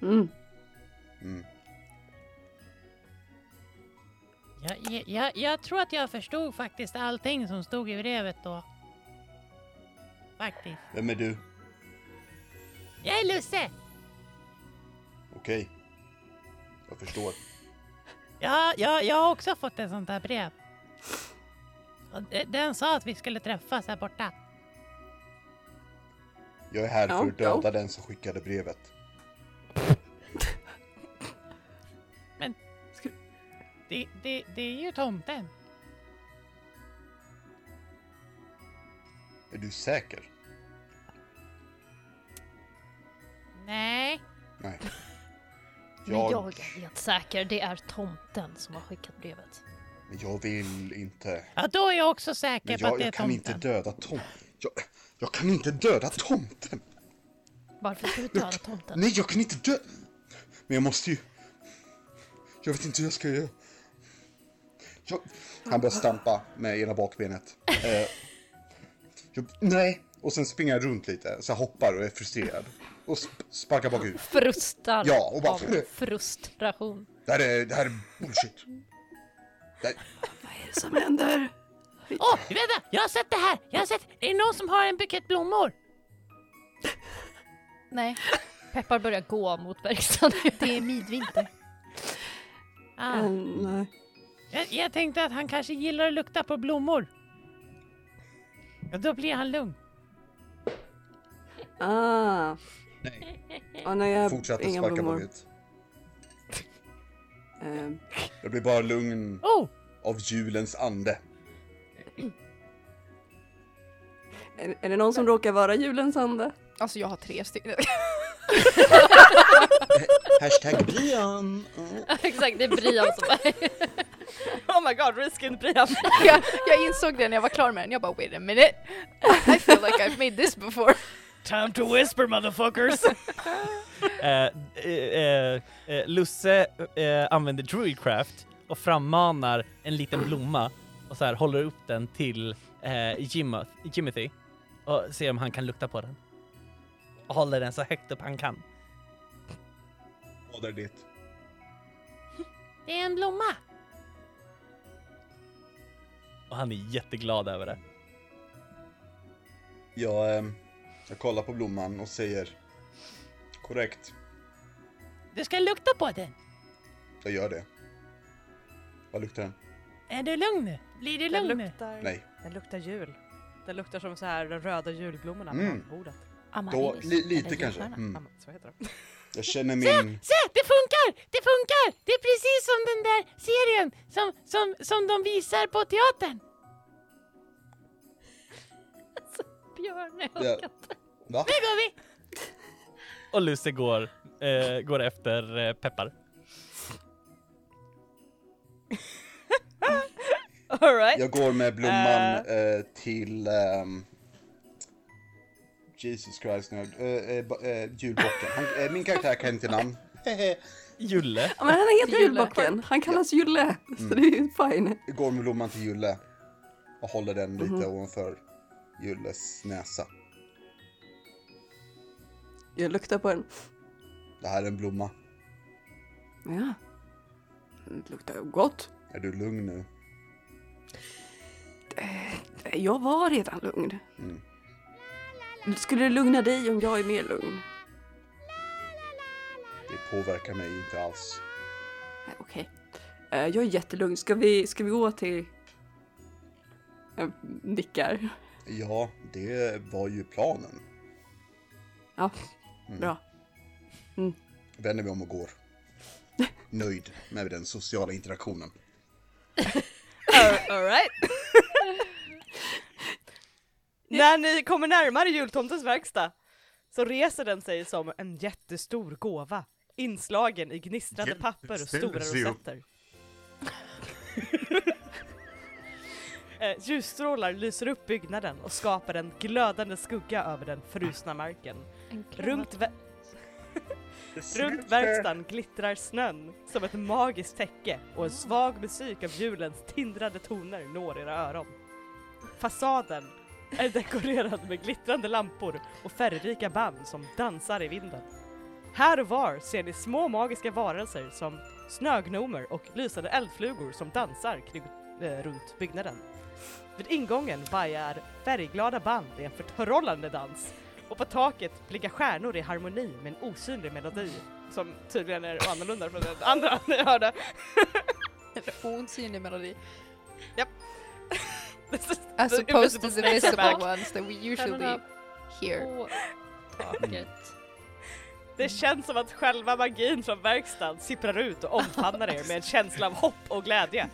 S3: Mm.
S5: Mm.
S7: jag- jag, jag, jag tror att jag förstod faktiskt allting som stod i brevet då. Faktiskt.
S5: Vem är du?
S7: Jag är Lusse!
S5: Okej. Jag förstår.
S7: Ja, ja, jag har också fått ett sånt här brev. Och de- Den sa att vi skulle träffas här borta.
S5: Jag är här
S3: Ja,
S5: för att döda
S3: ja.
S5: den som skickade brevet.
S7: Det, det, det är ju tomten.
S5: Är du säker?
S7: Nej.
S3: [LAUGHS]
S5: Nej.
S2: Men jag
S5: Jag,
S2: är helt säker, det är tomten som har skickat brevet.
S5: men jag vill inte.
S7: Ja, då är jag också säker
S5: Men
S7: på att
S5: jag,
S7: det är
S5: jag kan
S7: tomten.
S5: inte döda tom. Jag, jag kan inte döda tomten.
S2: Varför ska du döda [LAUGHS] tomten?
S5: Nej, jag kan inte dö... Men jag måste ju... Jag vet inte hur jag ska göra. Jag... Han börjar stampa med
S3: [LAUGHS]
S5: ena bakbenet. Eh, jag... Nej! Och sen springer jag runt lite, så jag hoppar och är frustrerad. Och sp- sparkar bakut.
S2: Frustad
S5: Ja, och bara-
S2: av frustration.
S5: Det här är, det här är bullshit. Det här...
S3: Vad är det som händer?
S7: Åh, vänta! Jag har sett det här! Jag har sett! Det är någon som har en bukett blommor.
S4: Nej,
S2: Peppar börjar gå mot verkstaden.
S4: det är midvinter.
S7: Ah,
S3: Mm, nej.
S7: jag, jag tänkte att han kanske gillar att lukta på blommor. Ja, då blir han lugn.
S3: Ah.
S5: Nej.
S3: Ah, nej, jag har
S5: Fortsätter
S3: inga
S5: sparka
S3: blommor.
S5: bakut.
S3: Eh,
S5: Jag blir bara lugn
S7: Oh!
S5: av
S3: [LAUGHS]
S5: julens ande.
S3: är, är det någon som råkar vara julens ande?
S4: Alltså jag har tre stycken.
S5: Hashtag Brian! Ja.
S2: [LAUGHS] Exakt, det är Brian [LAUGHS] som är...
S1: Oh my god, reskin Brian!
S4: [LAUGHS] jag, jag insåg det när jag var klar med den, jag bara wait a minute. I feel like I've made this [LAUGHS] before.
S6: Time to whisper motherfuckers! eh, eh, eh, Lusse eh, använder druidcraft och frammanar en liten blomma och så här håller upp den till eh, Jimoth, Jimothy och ser om han kan lukta på den. Och håller den så högt upp han kan.
S5: Vad är det?
S7: Det är en blomma.
S6: Och han är jätteglad över det.
S5: Jag, ehm, jag kollar på blomman och säger korrekt,
S7: [LAUGHS] Du ska lukta på den.
S5: jag gör det. Vad luktar den?
S7: Är du lugn nu? Blir du
S1: Den
S7: lugn nu?
S1: luktar,
S5: Nej.
S1: den luktar jul. Den luktar som så här de röda julblommorna
S5: Mm.
S1: på bordet.
S5: Då, li, lite kanske.
S1: Ja,
S5: Mm.
S1: men så heter det.
S5: Jag känner min...
S7: Se, det funkar! Det funkar! Det är precis som den där serien som, som, som de visar på teatern.
S2: Björn
S5: Ja. Va?
S7: Nu går vi!
S6: Och Lusse går, eh, går efter eh, Peppar.
S1: Alright.
S5: Jag går med blomman eh, till... ehm, Jesus Christ nu. eh, eh, ba- eh, julbocken. Han, eh, min karaktär kan inte namn. Hehe.
S6: Julle.
S3: Ja, men han heter
S4: Julle.
S3: Julbocken. Han kallas Julle.
S5: Mm.
S3: Så det är ju fine.
S5: Jag går med blomman till Julle. Och håller den lite ovanför Julles näsa.
S3: Jag luktar på den.
S5: Det här är en blomma.
S3: Ja. Den luktar gott.
S5: Är du lugn nu?
S3: Jag var redan lugn.
S5: Mm.
S3: Skulle det lugna dig om jag är mer lugn?
S5: Det påverkar mig inte alls.
S3: Nej, Okej. Eh, Jag är jättelugn. Ska vi, ska vi gå till... Jag nickar.
S5: Ja, det var ju planen.
S3: Ja, bra.
S5: Vänder vi om och går. Nöjd med den sociala interaktionen.
S1: Alright. [LAUGHS] När ni kommer närmare jultomtens verkstad så reser den sig som en jättestor gåva inslagen i gnistrande
S8: Hjälp,
S1: papper och
S8: ställ
S1: stora
S8: sig upp.
S1: rosetter. [LAUGHS] Eh, Ljusstrålar lyser upp byggnaden och skapar en glödande skugga över den frusna marken. Runt, vä- Runt verkstaden glittrar snön som ett magiskt täcke och en svag musik av julens tindrande toner når era öron. Fasaden är dekorerad med glittrande lampor och färgrika band som dansar i vinden. Här och var ser ni små magiska varelser som snögnomer och lysande eldflugor som dansar kring, eh, runt byggnaden. Vid ingången vajar färgglada band i en förtrollande dans och på taket blinkar stjärnor i harmoni med en osynlig melodi som tydligen är annorlunda från den andra [LAUGHS] ni hörde.
S4: En osynlig melodi.
S1: This is-
S4: As
S1: The
S4: opposed to Alltså, the
S1: invisible
S4: visible
S1: snapback.
S4: ones that we usually hear.
S2: På taket.
S1: Det känns som att själva magin från verkstaden sipprar ut och omfamnar er med en känsla av hopp och glädje.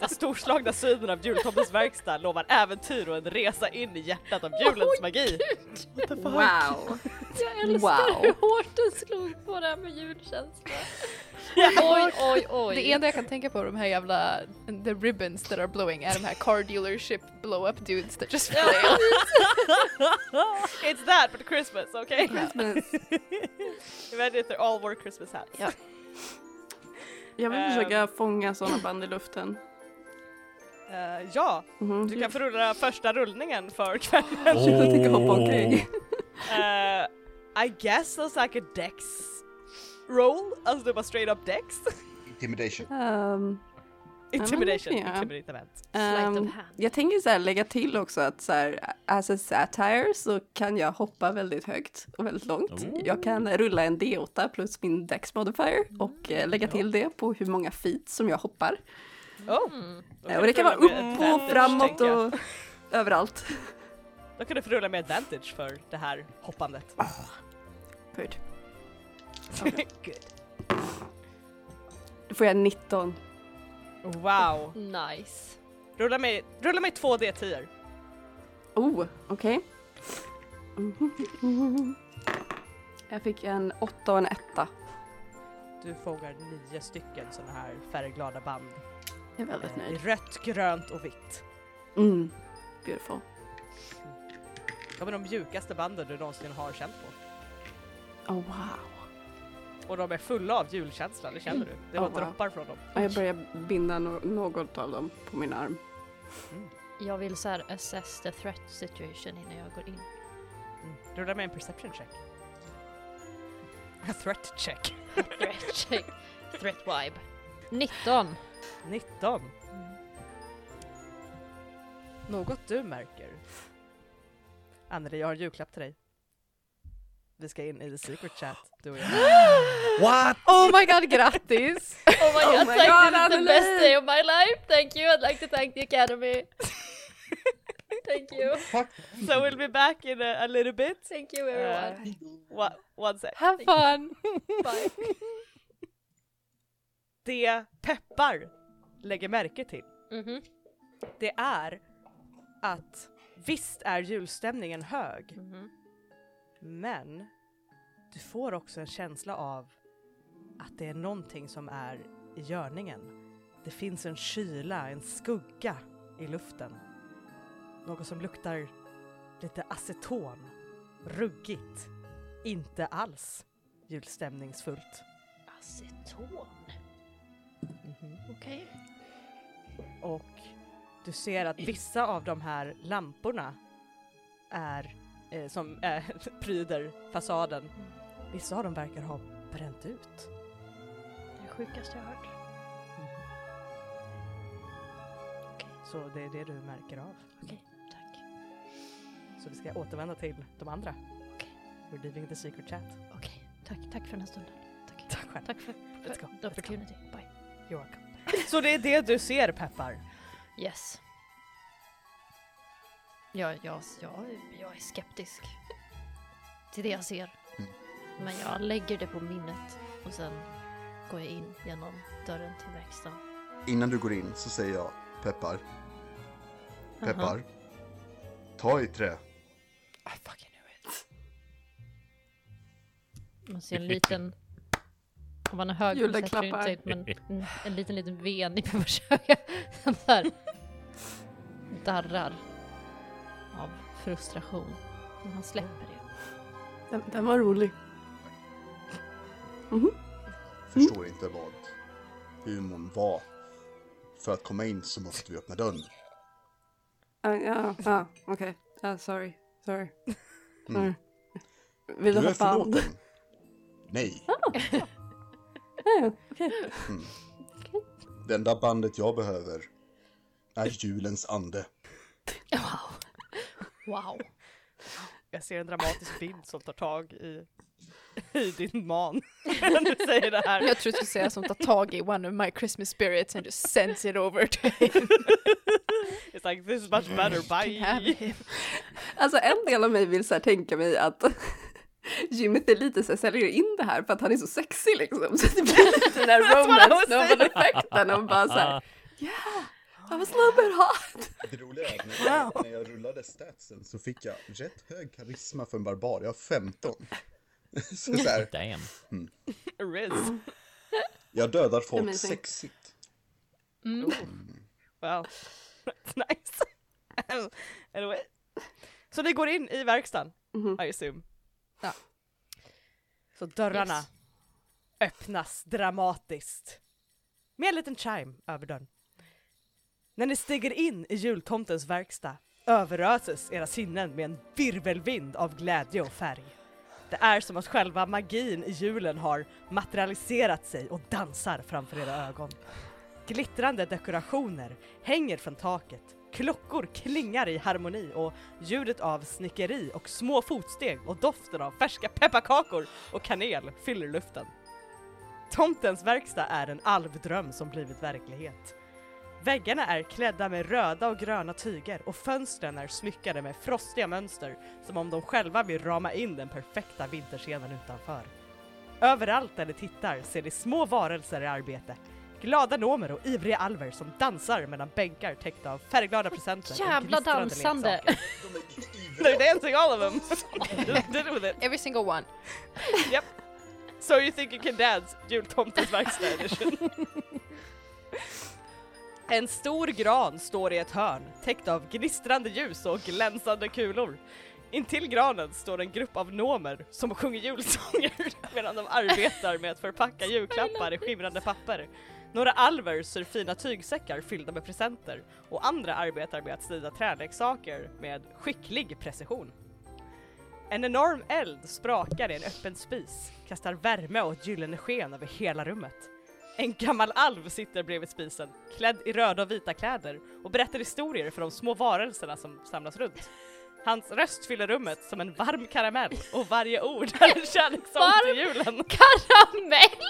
S1: Den storslagna synen av jultomtens verkstad lovar äventyr och en resa in i hjärtat av julens magi.
S3: Wow.
S2: [LAUGHS] Jag älskar
S3: Wow.
S2: hur hårt den slog på det här med
S3: [LAUGHS]
S2: julkänsla.
S4: Oj,
S2: Oj, oj, oj.
S4: Det enda jag kan tänka på är de här jävla the ribbons that are blowing är de här car dealership blow up dudes that just play.
S1: It's that but Christmas, okay?
S3: Men
S1: Imagine if they all wore Christmas hats.
S4: Ja.
S3: jag vill
S1: Ehm.
S3: försöka fånga sådana band i luften.
S1: Eh, ja,
S3: Mhm.
S1: du kan få rulla första rullningen för kvällen.
S3: Jag tänker hoppa omkring.
S1: Uh, I guess that's like a dex roll, alltså det var straight up dex.
S5: Intimidation.
S3: Ehm,
S1: Intimidation,
S3: Ja, men det kan jag.
S1: intimidament.
S2: Sleight of
S3: ehm,
S2: hand.
S3: jag tänker så här lägga till också att så här, as a satire så kan jag hoppa väldigt högt och väldigt långt. Jag kan rulla en D8 plus min dex modifier och eh, lägga till det på hur många feet som jag hoppar.
S1: Oh.
S2: Mm.
S1: Då
S3: Eh, och
S1: du
S3: det kan
S1: få
S3: vara
S1: rulla med
S3: upp och
S1: advantage,
S3: framåt
S1: tänker jag.
S3: och överallt.
S1: Då kan du få rulla med advantage för det här hoppandet.
S3: Ah. Good.
S1: Good.
S3: får jag 19.
S1: [LAUGHS] Wow.
S2: Nice.
S1: Rulla mig, rulla mig två D10.
S3: Oh, [LAUGHS] okej. Jag fick en 8 och en 1.
S1: Du fångar nio stycken sådana här färgglada band.
S4: Jag är väldigt
S1: Eh, i
S4: nöjd.
S1: Rött, grönt och vitt.
S3: Mm. Beautiful.
S1: De är de mjukaste banden du någonsin har känt på.
S3: Oh wow.
S1: Och de är fulla av julkänsla, det känner du. Det var
S3: Oh, wow.
S1: droppar från dem.
S3: Ja, Jag börjar binda no- något av dem på min arm.
S1: Mm,
S2: Jag vill så här assess the threat situation innan jag går in.
S1: mm. Rulla med en perception check. A threat check.
S2: Threat check. Threat vibe.
S3: [LAUGHS]
S2: 19.
S1: 19. Mm. Något du märker. Anneli, jag har en julklapp till dig. Vi ska in i the secret chat, du och jag.
S7: Ah.
S6: What?
S4: [GASPS] Oh my god, grattis!
S2: Oh my god,
S3: my
S2: thank
S3: god, Anneli!
S2: you, this is the best day of my life. Thank you, I'd like to thank the
S3: [LAUGHS]
S2: academy. thank you,
S1: [LAUGHS] So we'll be back in a, a little bit.
S2: thank you everyone.
S1: One, one sec.
S4: Have fun!
S2: Bye.
S3: [LAUGHS]
S1: Det Peppar lägger märke till,
S2: Mhm.
S1: det är att visst är julstämningen hög,
S2: Mhm.
S1: Men du får också en känsla av att det är någonting som är i görningen. Det finns en kyla, en skugga i luften. Något som luktar lite aceton, ruggigt, inte alls julstämningsfullt.
S2: Aceton. Okej.
S1: Och du ser att vissa av de här lamporna är eh, som eh, [LAUGHS] pryder fasaden. Vissa av dem verkar ha bränt ut.
S2: Det är det sjukaste jag har hört.
S1: Så det är det du märker av.
S2: Okej, tack.
S1: Så vi ska återvända till de andra.
S2: Okej.
S1: We're leaving the secret chat.
S2: Okej, tack, tack för den här stunden. Tack,
S1: [LAUGHS] Tack själv.
S2: tack för,
S1: Let's go.
S2: för the
S1: Let's go.
S2: opportunity. Bye.
S1: You're welcome. Så det är det du ser Peppar.
S2: Yes. Ja, jag, jag, jag är skeptisk till det jag ser.
S5: Mm.
S2: Men jag lägger det på minnet och sen går jag in genom dörren till verkstaden.
S5: Innan du går in så säger jag Peppar. Peppar. Ta i trä.
S2: I fucking knew it. Man ser
S4: [LAUGHS]
S2: en liten... Om man är hög
S3: Julle
S2: sätter det inte
S3: klappar.
S2: ut, men en,
S4: [LAUGHS]
S2: en liten, liten ven i Peppars [LAUGHS] öga. Som så här darrar av frustration. Men han släpper det.
S3: Den, den var rolig.
S5: Förstår inte vad humorn var. För att komma in så måste vi öppna dörren.
S3: Ja, ja, ja, okej. Ja, sorry. Sorry.
S5: Mm.
S3: sorry. Vill du
S5: Du är
S3: hoppa av?
S5: förlåten. Nej.
S3: [LAUGHS]
S5: Mm.
S3: Ja, Oh, okej.
S5: Det enda bandet jag behöver är julens ande.
S2: Wow. Wow.
S1: Jag ser en dramatisk bild som tar tag i, [LAUGHS] i din [LAUGHS] man. När du säger det här.
S4: Jag tror du skulle säga som tar tag i one of my Christmas spirits and just sends it over to
S1: It's like this is much better, [LAUGHS]
S4: have
S1: bye!
S4: him.
S3: Alltså en del av mig vill så här tänka mig att [LAUGHS] Jimmet är lite så här, säljer in det här för att han är så sexig liksom. Så det blir lite den här romance novel-effekten och bara så här, yeah, I was a little bit hot.
S5: Det roliga är att när jag, när jag rullade statsen så fick jag rätt hög karisma för en barbar. Jag har 15. [LAUGHS] Så, så här,
S6: Damn.
S1: Riz.
S5: jag dödar folk
S3: Amazing.
S5: sexigt.
S1: Wow. That's [LAUGHS] nice. [LAUGHS] anyway. Så ni går in i verkstaden, I assume.
S4: Ja.
S1: Så dörrarna
S2: Yes.
S1: öppnas dramatiskt. Med en liten chime över dörren. När ni stiger in i jultomtens verkstad överöses era sinnen med en virvelvind av glädje och färg. Det är som att själva magin i julen har materialiserat sig och dansar framför era ögon. Glittrande dekorationer hänger från taket, klockor klingar i harmoni och ljudet av snickeri och små fotsteg och doften av färska pepparkakor och kanel fyller luften. Tomtens verkstad är en alvdröm som blivit verklighet. Väggarna är klädda med röda och gröna tyger och fönstren är smyckade med frostiga mönster som om de själva vill rama in den perfekta vinterscenen utanför. Överallt där ni tittar ser ni små varelser i arbete glada nomer och ivriga alver som dansar mellan bänkar täckta av färgglada presenter. och
S2: Jävla
S1: gnistrande
S2: dansande!
S1: leksaker. They're dancing all of [LAUGHS] them! Did with it.
S4: Every single one.
S1: So you think you can dance, jultomtens verkstad [LAUGHS] edition. En stor gran står i ett hörn, täckt av gnistrande ljus och glänsande kulor. Intill granen står en grupp av nomer som sjunger julsånger [LAUGHS] medan de arbetar med att förpacka julklappar i skimrande papper. Några alver syr fina tygsäckar fyllda med presenter och andra arbetar med att snida träleksaker med skicklig precision. En enorm eld sprakar i en öppen spis, kastar värme och ett gyllene sken över hela rummet. En gammal alv sitter bredvid spisen, klädd i röda och vita kläder och berättar historier för de små varelserna som samlas runt. Hans röst fyller rummet som en varm karamell och varje ord är en kärleksång till julen.
S2: Karamell!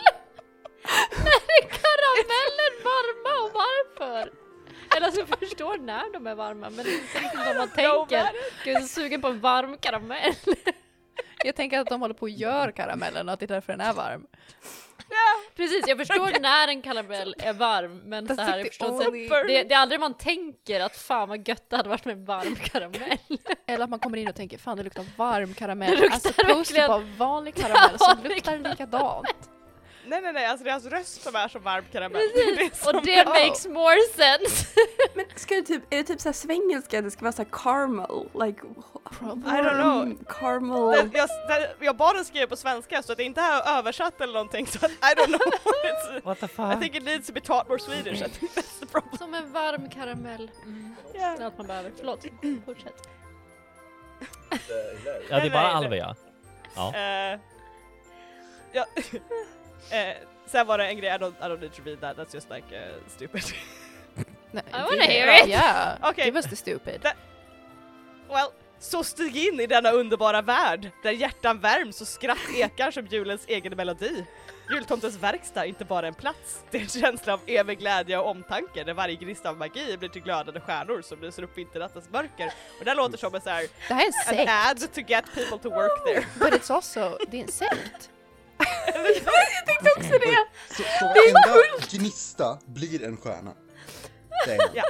S2: Är karamellen varma och varför? Eller alltså jag förstår när de är varma men det är inte riktigt [LAUGHS] vad man tänker. Gud, jag är så sugen på en varm karamell.
S4: Jag tänker att de håller på och gör karamellen och att det är därför den är varm.
S2: Precis, jag förstår när en karamell är varm men så här, jag förstår inte.
S1: Super.
S2: Det, det är aldrig man tänker att fan vad gött det hade varit med en varm [LAUGHS] karamell.
S4: Eller att man kommer in och tänker fan det luktar varm karamell.
S2: Det luktar
S4: alltså toast är
S2: verkligen-
S4: bara vanlig [LAUGHS] karamell så
S2: Vanlig
S4: luktar den likadant.
S1: Nej nej nej, alltså det är hans röst som är som varm karamell. Det är
S2: Precis,
S1: som-
S2: och det makes more sense.
S3: Men ska det typ, är det typ såhär svengelska, det ska vara såhär caramel, like... Probably.
S1: I don't know.
S3: Caramel.
S1: Den, jag, den, jag bad den skriva på svenska så att det inte är översatt eller någonting så att I don't know. It's,
S6: What the
S1: I
S6: fuck?
S1: think it needs to be taught more Swedish. I think that's the problem.
S2: [LAUGHS] Som en varm karamell. Mm.
S1: Yeah.
S2: Det är allt man behöver. Förlåt, fortsätt.
S6: Ja, det
S1: Nej,
S6: är bara
S1: nej,
S6: Alva
S1: nej.
S6: ja.
S1: Eh, ja. [LAUGHS] Eh, sen var det en grej, I don't, I don't need to read that, that's just like eh, stupid. [LAUGHS]
S4: Nej,
S2: I wanna
S4: det-
S2: hear it.
S4: Yeah,
S1: Okej.
S4: give us the stupid.
S1: Well, så stig in i denna underbara värld där hjärtan värms och skratt ekar som julens egen melodi. Jultomtens verkstad är inte bara en plats, det är en känsla av evig glädje och omtanke där varje gnista av magi blir till glödande stjärnor som lyser upp vinternattens mörker. Och det här låter som en så här,
S4: Det här är en
S1: an [LAUGHS]
S4: sekt,
S1: ad to get people to work there.
S4: but it's also, det är en sekt.
S5: Så, så varenda gnista blir en stjärna. Det är-
S1: Ja.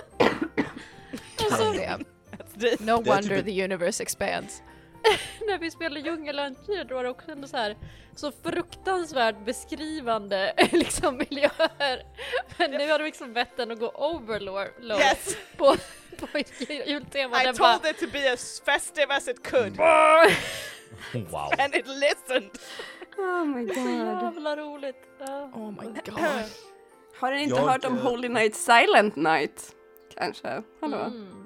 S4: [LAUGHS] Alltså,
S1: Det-
S4: no
S5: Det är typ
S4: wonder
S5: ett-
S4: the universe expands.
S2: När vi spelade djungeläventyr då var det också ändå så här så fruktansvärt beskrivande [LAUGHS] liksom miljöer. Men nu har de liksom bett den att gå overlord
S1: Yes,
S2: på, på jultema.
S1: I
S2: Den bara,
S1: told it to be as festive as it could,
S6: Wow.
S1: and it listened.
S3: Oh my
S2: så
S3: god.
S2: jävla roligt. Ja.
S4: Oh my god.
S3: Har ni inte
S5: Jag,
S3: hört om
S5: eh,
S3: Holy Night Silent Night? Kanske? Hallå?
S2: Mm.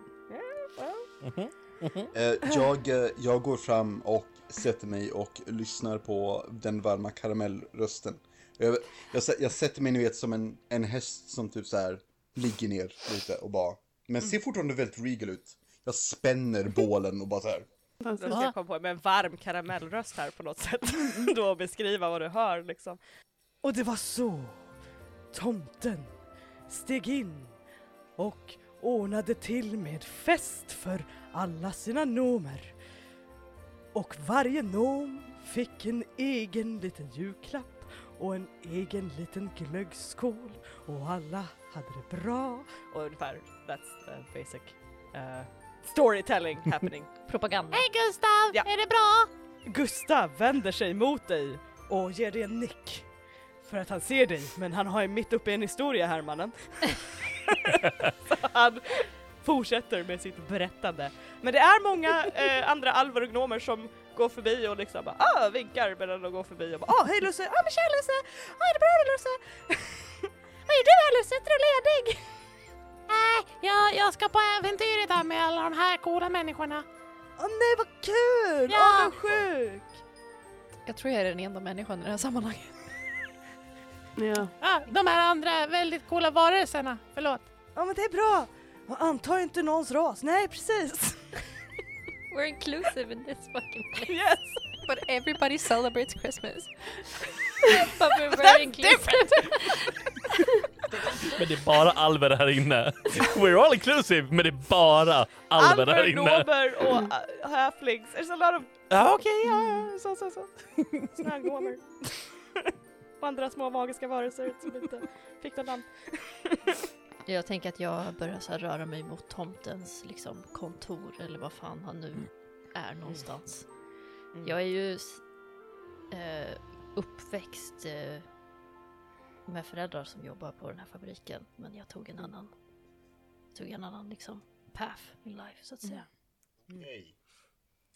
S5: Eh, jag, eh, jag går fram och sätter mig och lyssnar på den varma karamellrösten. Jag, jag, sä- jag sätter mig, ni vet, som en, en häst som typ så här ligger ner lite och bara... Men ser fortfarande väldigt regal ut. Jag spänner
S1: Mm.
S5: bålen och bara så här.
S1: Jag ska komma på med en varm karamellröst här på något sätt. [LAUGHS] Då beskriva vad du hör liksom. Och det var så tomten steg in och ordnade till med fest för alla sina nomer. Och varje nom fick en egen liten julklapp och en egen liten glöggskål och alla hade det bra. Och ungefär, that's the basic eh, storytelling happening.
S2: Propaganda.
S7: Hej Gustav,
S1: Ja.
S7: är det bra?
S1: Gustav vänder sig mot dig och ger dig en nick. För att han ser dig, men han har ju mitt uppe i en historia här mannen. [LAUGHS] Så han fortsätter med sitt berättande. Men det är många eh, andra alver och gnomer som går förbi och liksom bara, ah, vinkar medan de går förbi och bara ah, hej Lusse, ah men tja Lusse, ah är det bra med [LAUGHS] Lusse? Vad gör du här Lusse, är du ledig?
S7: Nej, jag, jag ska på äventyr idag med alla de här coola människorna.
S1: Åh nej vad kul,
S7: Ja.
S1: åh vad sjuk!
S4: Jag tror jag är den enda människan i det här sammanhanget.
S3: Ja.
S7: Ja, de här andra väldigt coola varelserna, förlåt.
S1: Ja men det är bra, anta inte någons ras, nej precis.
S2: We're inclusive in this fucking
S1: [LAUGHS]
S2: place.
S1: Yes.
S4: But everybody celebrates Christmas.
S2: [LAUGHS] But we're very inclusive.
S6: Men det är bara alver här inne. [LAUGHS] We're all inclusive, men det är bara alver här
S1: Alver,
S6: inne.
S1: Nober och uh, halflings. There's a lot of...
S6: Ja, Okej, ja.
S1: Ja, så, så, så. Snögnomer. och andra små magiska varelser som
S2: [LAUGHS]
S1: inte fick något namn.
S2: Jag tänker att jag börjar så här röra mig mot tomtens liksom, kontor eller vad fan han nu är någonstans.
S1: Mm.
S2: Jag är ju s- eh, uppväxt eh, med föräldrar som jobbar på den här fabriken men jag tog en
S1: Mm.
S2: annan, tog en annan liksom path in life så att
S1: Mm.
S2: säga.
S5: Nej.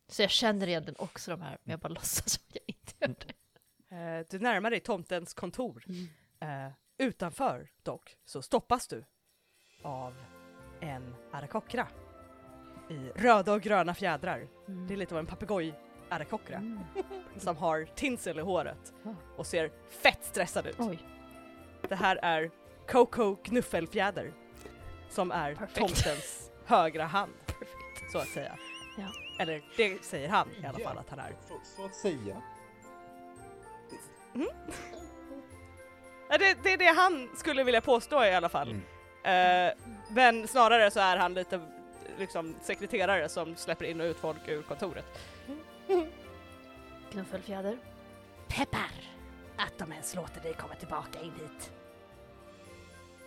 S2: Så jag känner egentligen också de här men jag bara låtsas som jag inte gör det.
S1: Eh, Du närmar dig tomtens kontor.
S2: Mm.
S1: Eh, utanför dock så stoppas du av en arakokra i röda och gröna fjädrar.
S2: Mm.
S1: Det är lite av en papegoj arakokra som har tinsel i håret
S2: Ah.
S1: och ser fett stressad ut.
S2: Oj,
S1: Det här är Coco Knuffelfjäder som är
S2: Perfekt.
S1: tomtens högra hand
S2: perfekt.
S1: så att säga.
S2: Ja.
S1: Eller det säger han i alla fall att han är.
S5: Så, så att säga.
S1: Ja, Det, det är det han skulle vilja påstå i alla fall.
S5: Mm.
S1: Eh, men snarare så är han lite liksom sekreterare som släpper in och ut folk ur kontoret.
S2: Knuffelfjäder.
S7: Peppar! Att de ens låter dig komma tillbaka in hit.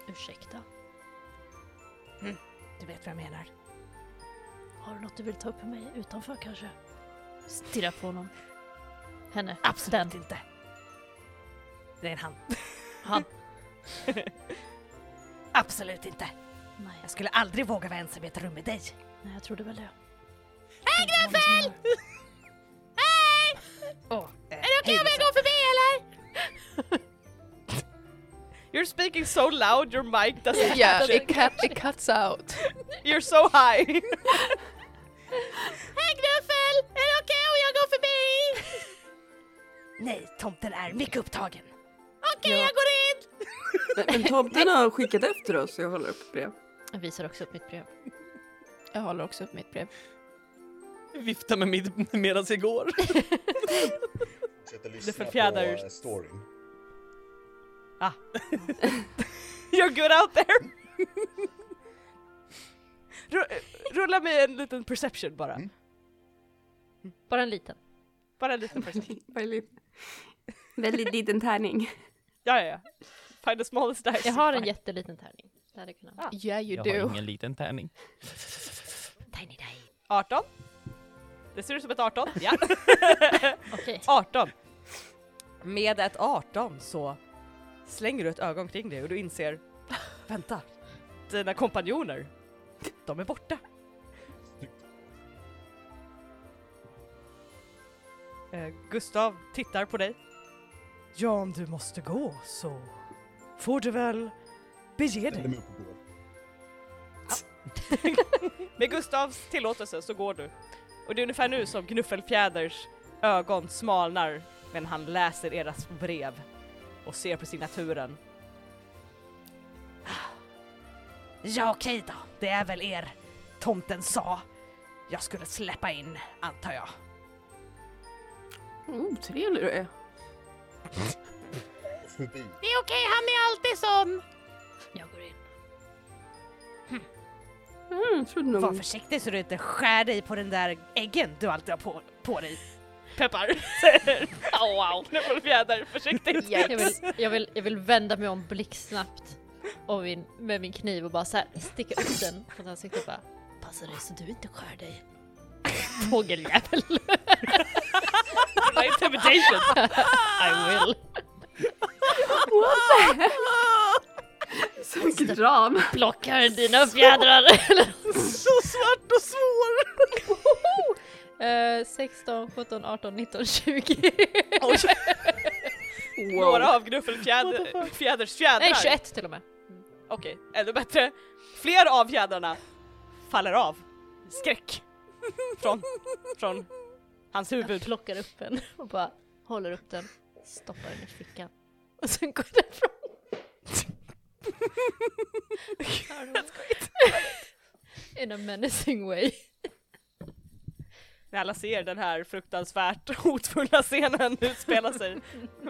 S2: Ursäkta,
S7: Du vet vad jag menar.
S2: har du något du vill ta upp med mig utanför kanske? Stirra på honom. Henne.
S7: Absolut inte. Det är en han.
S2: Han.
S7: Absolut inte.
S2: Nej,
S7: Jag skulle aldrig våga vara ensam i ett rum med dig.
S2: nej, jag trodde väl det. Hej Gnuffel!
S1: Är det okej om jag går förbi
S7: [LAUGHS]
S1: eller? You're speaking so loud your mic doesn't
S4: [LAUGHS] Yeah,
S1: catch
S4: it,
S1: it.
S4: cut, it cuts out.
S1: You're so high.
S7: Hej Knuffel! Är det okej om jag går förbi? Nej, tomten är mycket upptagen. Okej, jag går in!
S3: Men, men tomten har skickat efter oss, jag håller upp brev.
S2: Jag visar också upp mitt brev.
S4: Jag håller också upp mitt brev.
S6: Vifta med mitt medan jag går.
S5: Fortsätta
S1: Det
S5: lyssna på
S1: förfjädrar-
S5: eh, storyn.
S1: You're good out there. Ru- Rulla med en liten perception bara.
S5: Mm.
S2: Bara en liten.
S1: Bara en liten perception.
S3: [LAUGHS] Väldigt, väldigt liten tärning.
S1: Ja, ja, ja. Find the smallest dice.
S2: Jag har en jätteliten tärning. Det hade kunnat.
S1: Ah.
S4: Yeah you
S6: Jag
S4: do.
S6: har ingen
S1: [LAUGHS]
S6: liten tärning.
S2: Tiny day.
S1: 18. Det ser ut som ett 18. Ja.
S2: Okej.
S1: 18. Med ett 18 så slänger du ett ögon kring dig och du inser, vänta, dina kompanjoner, de är borta. Eh, Gustav tittar på dig. Ja, om du måste gå så får du väl bege
S5: Ställer mig upp och går.
S1: Med Gustavs tillåtelse så går du. Och det är ungefär nu som Gnuffelfjäders ögon smalnar men han läser deras brev och ser på signaturen.
S7: Ja, okej då. Det är väl er tomten sa jag skulle släppa in, antar jag.
S3: Otrevlig du är.
S5: Förbi. Eh,
S7: Det är okej, han är alltid sån.
S2: Jag går in.
S3: Mm, trodde nog.
S7: Var försiktig så du inte skär dig på den där äggen du alltid har på, på dig. [LAUGHS]
S1: Peppar! oh, wow! Gnuffelfjäder, försiktigt!
S2: Jag vill, jag, vill, jag vill vända mig om blixtsnabbt och min, med min kniv och bara så här sticka upp den på hans ansikte och bara Passa dig så du inte skär dig.
S7: [LAUGHS]
S2: Fågeljävel.
S1: My intimidation!
S2: I will.
S3: Så drama.
S2: Plockar dina fjädrar. [LAUGHS]
S1: Så svart och svår!
S2: Eh, 16, 17, 18, 19, 20. [LAUGHS]
S1: Några av Gnuffelfjäders fjädrar.
S2: Nej 21 till och med.
S1: Okej, ännu bättre. Flera av fjädrarna faller av. Skräck. Från, från hans
S2: Jag
S1: huvud. [LAUGHS]
S2: [LAUGHS] plockar upp en och bara håller upp den, stoppar den i fickan och sen går den från. In a menacing way.
S1: När alla ser den här fruktansvärt [LAUGHS] hotfulla scenen utspela sig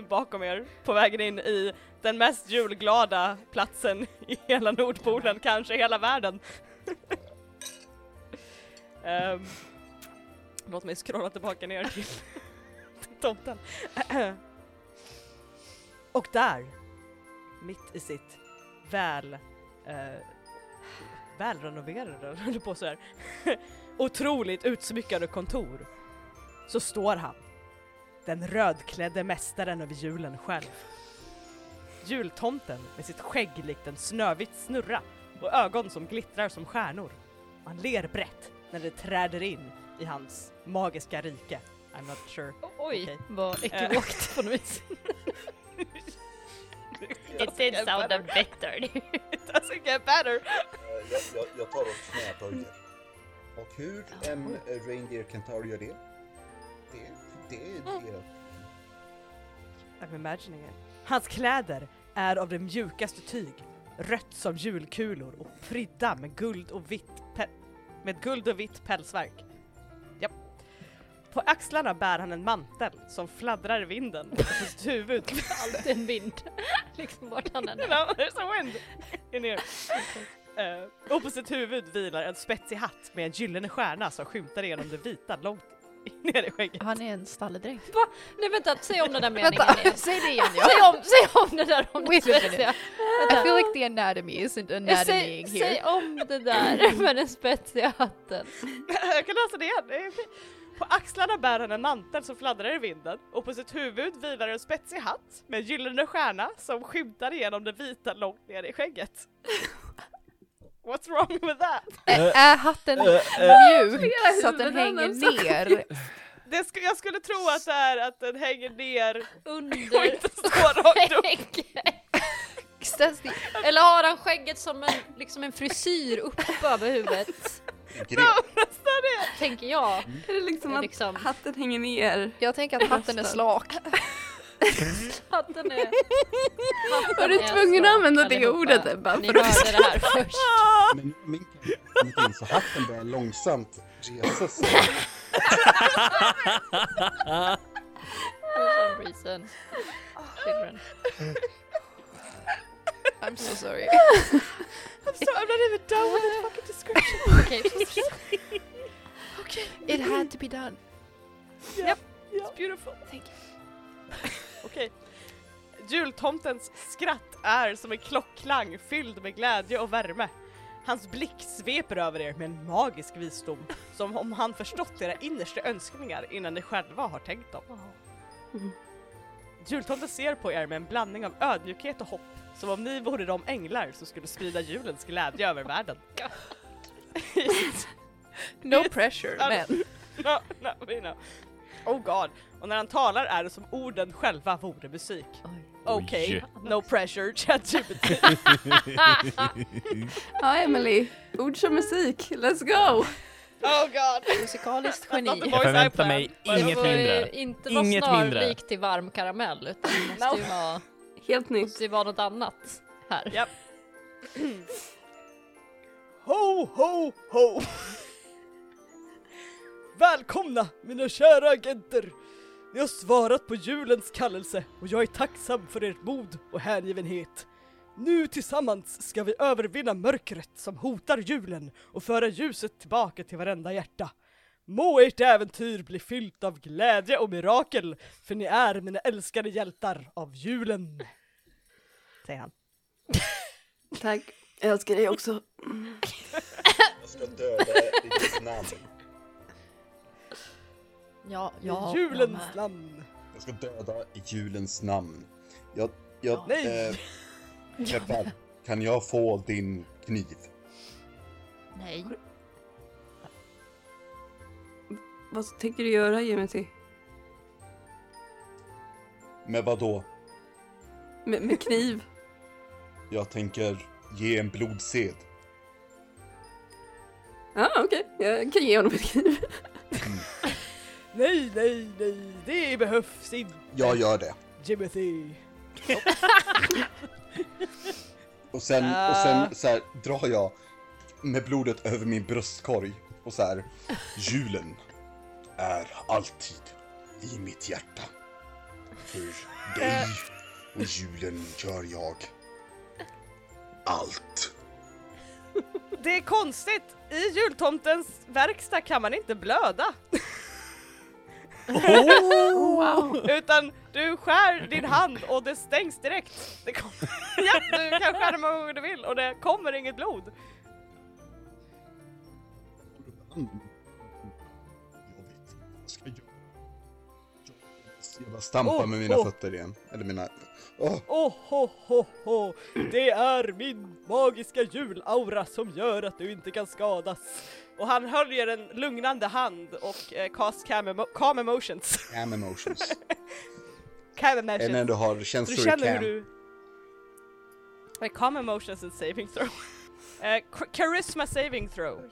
S1: bakom er på vägen in i den mest julglada platsen i hela Nordpolen, kanske hela världen. [LAUGHS] Ehm, låt mig [LAUGHS] scrolla tillbaka ner till, till tomten. [CLEARS THROAT] Och där, mitt i sitt väl... Eh, välrenoverade, höll jag på så här. otroligt utsmyckade kontor så står han. Den rödklädde mästaren över julen själv. Jultomten med sitt skägg likt en snövit snurra och ögon som glittrar som stjärnor. Och han ler brett när det träder in i hans magiska rike. I'm not sure.
S2: Oj,
S1: Okej.
S4: Eh.
S2: vad ekivokt på något
S4: [LAUGHS]
S2: vis. It did sound a better.
S1: It doesn't get better!
S5: Jag, jag, jag tar och knäar Börger. Och hur en eh, reindeer kentaur gör det? Det, det är det.
S1: I'm imagining it. Hans kläder är av det mjukaste tyg, rött som julkulor och prydda med guld och vitt, pe- med guld och vitt pälsverk. Japp. På axlarna bär han en mantel som fladdrar i vinden och på sitt huvud...
S2: Alltid en vind. liksom vart han än är.
S1: No, there's a wind in here. Eh, och på sitt huvud vilar en spetsig hatt med en gyllene stjärna som skymtar genom det vita långt [LAUGHS] ner i skägget.
S4: Han är en stalledräng.
S2: Nej vänta, säg om den där meningen
S4: Vänta,
S2: igen.
S4: säg det igen ja.
S2: Säg om, säg om det där om
S4: Wait a
S2: det
S4: minute.
S2: spetsiga.
S4: I feel like the anatomy isn't
S2: Jag
S4: anatomying
S2: Säg,
S4: here.
S2: säg om det
S4: [LAUGHS]
S2: där med den spetsiga hatten.
S1: [LAUGHS] Jag kan läsa det igen. Det är okej. På axlarna bär han en mantel som fladdrar i vinden och på sitt huvud vilar en spetsig hatt med en gyllene stjärna som skymtar igenom det vita långt ner i skägget. [LAUGHS] What's wrong with that?
S6: Eh,
S4: Ä- Är hatten mjuk Eh, så att den hänger ner?
S1: Det sk- jag skulle tro att det är att den hänger ner och
S2: Under
S1: inte står rakt
S2: [LAUGHS]
S1: upp.
S2: skägget.
S4: Ställs det-
S2: Eller har han skägget som en, liksom en frisyr upp över huvudet?
S5: Gret.
S2: Tänker jag.
S3: Är det liksom att
S2: Liksom.
S3: hatten hänger ner?
S4: Jag tänker att hatten är slak.
S2: [LAUGHS] Hatten är... [LAUGHS] hatten
S3: Var du
S2: är
S3: tvungen att
S2: slak,
S3: använda det
S2: allihopa.
S3: ordet Ebba?
S2: Ni
S3: för att-
S2: hörde det här först.
S5: Men nu har min kamrat kommit in så hatten börjar långsamt resa sig.
S2: For some reason. Children.
S4: I'm so sorry.
S1: So I'm not even done with the fucking description.
S2: Okej,
S4: It had to be done.
S1: It's beautiful. Thank you. [LAUGHS] Okej. Jultomtens skratt är som en klockklang fylld med glädje och värme. Hans blick sveper över er med en magisk visdom, som om han förstått era innersta önskningar innan ni själva har tänkt dem. Jultomten ser på er med en blandning av ödmjukhet och hopp, som om ni vore de änglar som skulle sprida julens glädje över världen.
S4: No pressure,
S1: Ja,
S4: men.
S1: [LAUGHS] No, no, we know. Oh god. Och när han talar är det som orden själva vore musik. Okej, no pressure, [LAUGHS] ChatGPT.
S3: [LAUGHS] Ja, Emily. Ord som musik. Let's go!
S1: Oh god. Not
S4: Musikaliskt
S1: the
S4: geni.
S6: Jag
S1: voice I
S6: förväntar
S1: planned,
S6: mig
S1: but-
S6: Inget
S2: Det får ju
S1: [LAUGHS]
S6: mindre.
S2: inte vara
S6: Inget mindre.
S2: snarlikt till varm karamell utan det måste ju vara,
S3: Helt nytt.
S2: måste ju vara något annat här.
S1: Ja. Ho, ho, ho! Välkomna mina kära agenter! Ni har svarat på julens kallelse och jag är tacksam för ert mod och hängivenhet. Nu tillsammans ska vi övervinna mörkret som hotar julen och föra ljuset tillbaka till varenda hjärta. Må ert äventyr bli fyllt av glädje och mirakel, för ni är mina älskade hjältar av julen. Säger han.
S3: Tack. Jag älskar dig också.
S5: Jag ska döda ditt namn.
S4: Ja,
S1: I
S4: ja, jag med.
S1: julens namn.
S5: Jag ska döda i julens namn. Jag... jag
S1: Nej.
S5: eh, Ebba, kan jag få din kniv?
S2: Nej.
S3: Vad tänker du göra, Jimmy?
S5: Med vad då?
S3: Med, med kniv?
S5: Jag tänker ge en blodsed.
S3: Ja, [LAUGHS] ah, okej. Jag kan ge honom en kniv.
S1: Nej, nej, nej, det behövs inte.
S5: Jag gör det.
S1: Jimothy.
S5: Och sen, och
S1: Ah.
S5: sen så här, drar jag med blodet över min bröstkorg och så här. Julen är alltid i mitt hjärta. För dig
S1: Eh.
S5: och julen gör jag allt.
S1: Det är [LAUGHS] konstigt, i jultomtens verkstad kan man inte blöda. Oh! [LAUGHS] Utan du skär din hand och det stängs direkt. Det kommer, [LAUGHS] ja, du kan skära hur många gånger du vill och det kommer inget blod.
S5: Jag bara stampar med mina
S1: Oh, oh.
S5: fötter igen. Eller mina... Åh,
S1: Oh, ho, ho, ho. Det är min magiska julaura som gör att du inte kan skadas. Och han höljer en lugnande hand och eh, cast calm, emo- calm emotions. [LAUGHS]
S5: cam emotions.
S1: Calm
S5: Eller när
S1: emotions.
S5: du har
S1: Så
S5: känslor
S1: du
S5: i
S1: känner hur
S5: cam.
S1: du... Like, calm emotions and saving throw. [LAUGHS] Eh, ch- charisma saving throw.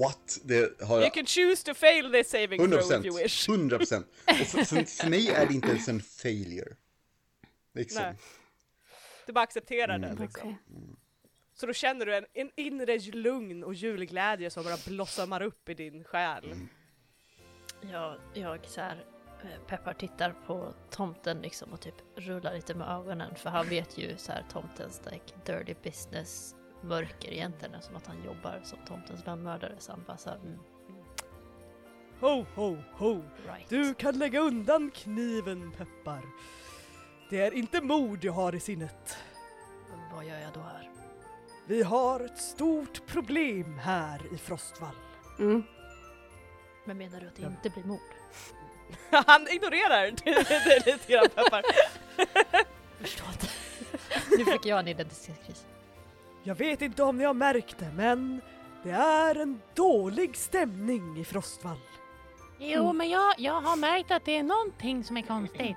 S5: What? Det har
S1: You
S5: jag
S1: can choose to fail this saving
S5: 100
S1: throw if you wish.
S5: 100 procent. Och för, för, för mig är det inte ens en failure. Liksom.
S1: Nej. Du bara accepterar det liksom. Så då känner du en, en inre lugn och julglädje som bara blossamar upp i din själ.
S5: Mm.
S2: Jag, jag så här, eh, peppar tittar på tomten liksom och typ rullar lite med ögonen för han vet ju så här tomtens like dirty business mörker egentligen som att han jobbar som tomtens lönnmördare så han bara såhär mm,
S1: Ho, ho, ho!
S2: right.
S1: Du kan lägga undan kniven, Peppar. Det är inte mod jag har i sinnet.
S2: Vad gör jag då här?
S1: Vi har ett stort problem här i Frostvall.
S3: Mm.
S2: Men menar du att det inte blir mord?
S1: [LAUGHS] Han ignorerar det är lite grann, Peppar.
S2: Förstår inte. [LAUGHS] nu fick jag en identitetskris.
S1: Jag vet inte om ni har märkt det, men det är en dålig stämning i Frostvall.
S7: Jo, men jag, jag har märkt att det är någonting som är konstigt.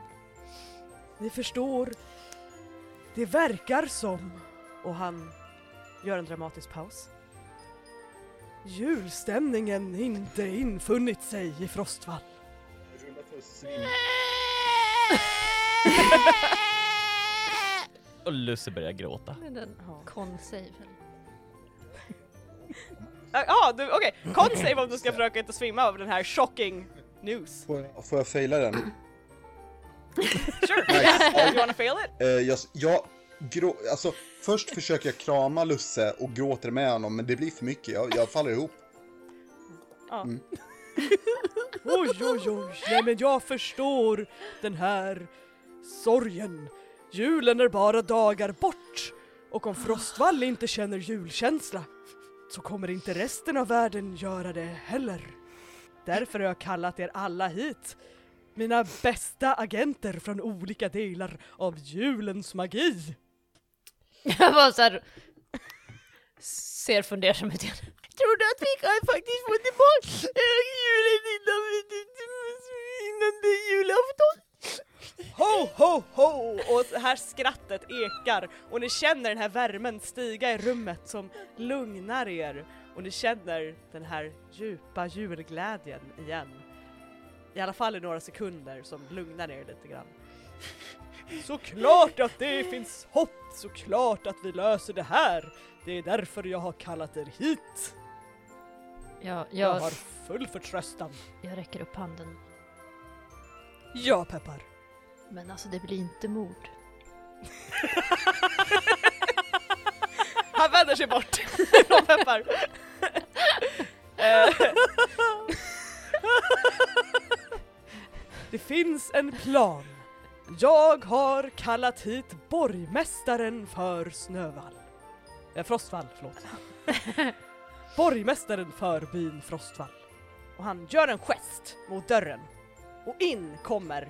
S1: Ni förstår, det verkar som... Och han gör en dramatisk paus. Julstämningen inte infunnit sig i Frostvall.
S6: Och Lucy börjar gråta.
S2: Den con-save.
S1: Ja, ah, du- okej. Okay. Consave om du ska försöka inte svimma av den här shocking news.
S5: Får, jag, får jag faila den?
S1: [LAUGHS] Sure,
S5: Nice.
S1: you wanna fail it?
S5: Eh, jag, jag grå, alltså, först försöker jag krama Lusse och gråter med honom, men det blir för mycket. Jag, jag faller ihop.
S1: Oj, oj, oj. Nej, men jag förstår den här sorgen. Julen är bara dagar bort och om Frostvall inte känner julkänsla så kommer inte resten av världen göra det heller. Därför har jag kallat er alla hit. Mina bästa agenter från olika delar av julens magi.
S2: Jag bara såhär ser fundersam ut igen. Tror du att vi kan faktiskt få tillbaka eh, julen innan, vi- innan det är julafton?
S1: Ho, ho, ho! Och det här skrattet ekar och ni känner den här värmen stiga i rummet som lugnar er och ni känner den här djupa julglädjen igen. I alla fall i några sekunder som lugnar er lite grann. Såklart att det finns hopp, såklart att vi löser det här. Det är därför jag har kallat er hit.
S2: Ja,
S1: Jag
S2: jag,
S1: har full förtröstan.
S2: jag räcker upp handen.
S1: Ja, Peppar. [LAUGHS]
S2: Men alltså det blir inte mord.
S1: Han vänder sig bort från Peppar. Eh. Det finns en plan. Jag har kallat hit borgmästaren för Snövall. Eh, Frostvall, förlåt. borgmästaren för byn Frostvall. Och han gör en gest mot dörren. Och in kommer,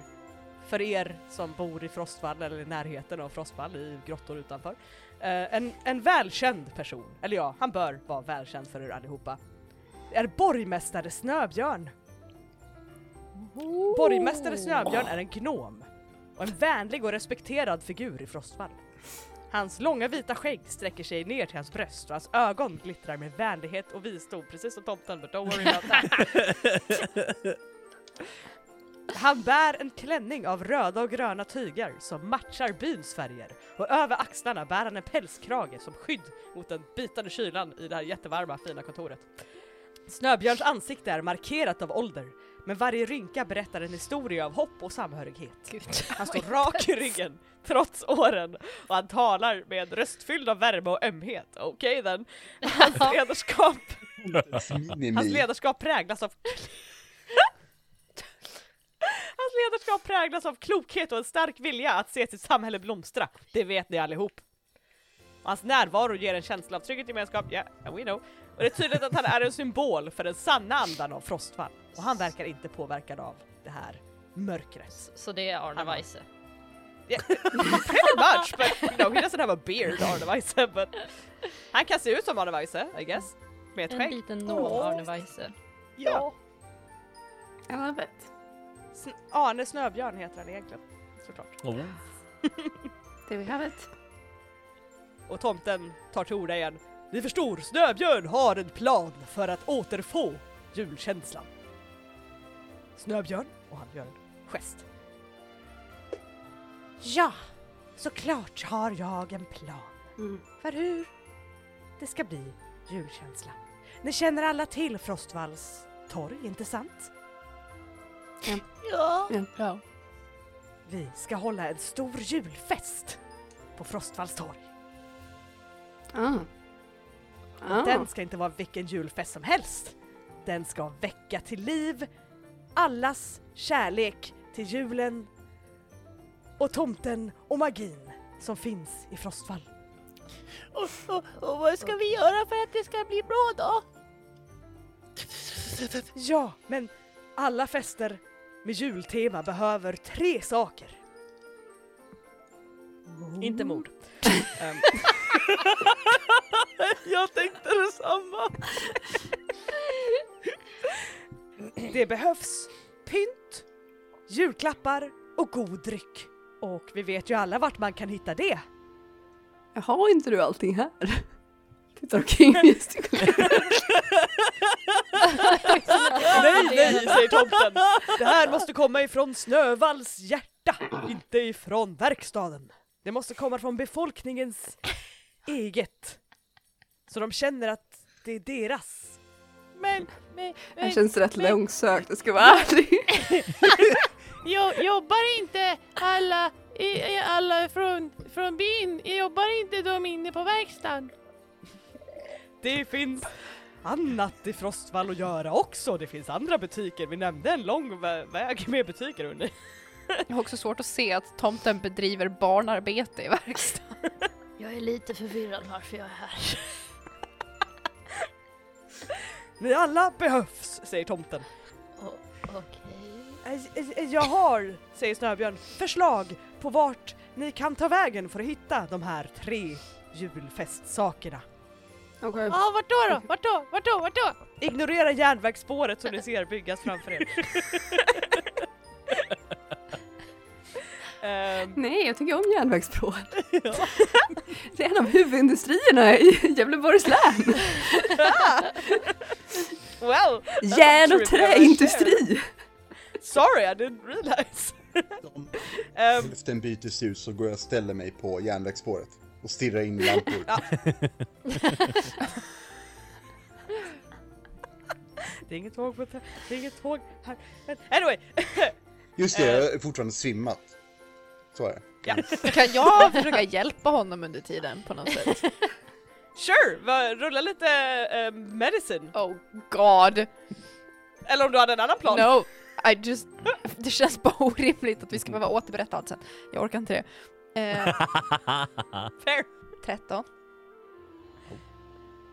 S1: för er som bor i Frostvall eller i närheten av Frostvall, i grottor utanför, Eh, en, en välkänd person, eller ja, han bör vara välkänd för er allihopa. Det är borgmästare Snöbjörn. Borgmästare Snöbjörn är en gnom och en vänlig och respekterad figur i Frostvall. Hans långa vita skägg sträcker sig ner till hans bröst och hans ögon glittrar med vänlighet och visdom, precis som tomten, but don't worry about that. Han bär en klänning av röda och gröna tyger som matchar byns färger och över axlarna bär han en pälskrage som skydd mot den bitande kylan i det här jättevarma fina kontoret. Snöbjörns ansikte är markerat av ålder, men varje rynka berättar en historia av hopp och
S2: [LAUGHS]
S1: samhörighet. Han står rak i ryggen, trots åren, och han talar med en röst fylld av värme och ömhet. Okej then. Hans ledarskap,
S5: Minimi.
S1: [LAUGHS] hans ledarskap präglas av ska präglas av klokhet och en stark vilja att se sitt samhälle blomstra. Det vet ni allihop. Och hans närvaro ger en känsla av trygghet och gemenskap, ja, yeah, we know. Och det är tydligt att han är en symbol för den sanna andan av Frostfall. Och han verkar inte påverkad av det här mörkret.
S2: Så det är Arne
S1: Han har-
S2: Weise.
S1: Pretty much, but no, he doesn't have a beard, Arne Weise, but... Han kan se ut som Arne Weise, I guess. Med ett
S2: En
S1: skägg.
S2: liten nål Arne Weise.
S1: Ja.
S3: Jag vet.
S1: Sn- Arne Snöbjörn heter han egentligen, såklart.
S6: Oh. [LAUGHS]
S3: Do we have it?
S1: Och tomten tar till orda igen. Ni förstår, Snöbjörn har en plan för att återfå julkänslan. Snöbjörn, och han gör en gest. Ja, såklart har jag en plan
S3: Mm.
S1: för hur det ska bli julkänsla. Ni känner alla till Frostvalls torg, inte sant?
S7: Ja.
S4: Ja.
S1: Vi ska hålla en stor julfest på Frostvalls torg.
S3: Ah. Ah.
S1: Den ska inte vara vilken julfest som helst. Den ska väcka till liv allas kärlek till julen och tomten och magin som finns i Frostfall.
S7: Och, och, och vad ska vi göra för att det ska bli bra då?
S1: Ja, men alla fester med jultema behöver tre saker. Mm. Inte [LAUGHS] mord. Ehm. Jag tänkte [LAUGHS] detsamma. Det behövs pynt, julklappar och god dryck. Och vi vet ju alla vart man kan hitta det.
S3: Jag har inte du
S8: [LAUGHS]
S3: allting här? Tittar omkring just i
S1: Nej, nej, säger tomten. Det här måste komma ifrån Snövalls hjärta, inte ifrån verkstaden. Det måste komma från befolkningens eget. Så de känner att det är deras.
S7: Men, men,
S3: Det här
S7: men
S3: känns rätt långsökt, jag ska vara ärlig.
S7: jo, jobbar inte alla, i, i- alla från, från byn, jobbar inte de inne på verkstaden?
S1: Det finns annat i Frostvall att göra också. Det finns andra butiker. Vi nämnde en lång vä- väg med butiker under.
S4: Jag har också svårt att se att tomten bedriver barnarbete i verkstaden.
S2: Jag är lite förvirrad varför jag är [LAUGHS] här.
S1: Ni alla behövs, säger tomten.
S2: Okej.
S1: Eh, eh, Jag har, säger Snöbjörn, förslag på vart ni kan ta vägen för att hitta de här tre julfestsakerna.
S3: Okej.
S7: Ja, vart då då? Vart då? Vart då? Vart då?
S1: Ignorera järnvägsspåret som ni ser byggas framför er. Ehm,
S3: Nej, jag tycker om järnvägsspår.
S8: [LAUGHS]
S3: Det är en av huvudindustrierna i
S8: [LAUGHS]
S3: Gävleborgs län.
S1: well,
S3: Järn och träindustri.
S1: sorry I didn't [LAUGHS] realize. Ehm,
S5: Efter en bytesus så går jag och ställer mig på järnvägsspåret och stirrar in i lampor.
S1: det är inget tåg på tra- det är inget tåg här. Men anyway,
S5: Just det,
S1: Eh.
S5: jag är fortfarande svimmat. Så är det.
S4: [LAUGHS] Kan [LAUGHS] jag försöka hjälpa honom under tiden på något sätt?
S1: sure, va, rulla lite eh, medicine.
S4: Oh god!
S1: Eller om du hade en annan plan.
S4: No! I just... Det känns bara orimligt att vi ska behöva återberätta allt sen. Jag orkar inte det. [LAUGHS] Eh,
S1: Fair.
S4: 13.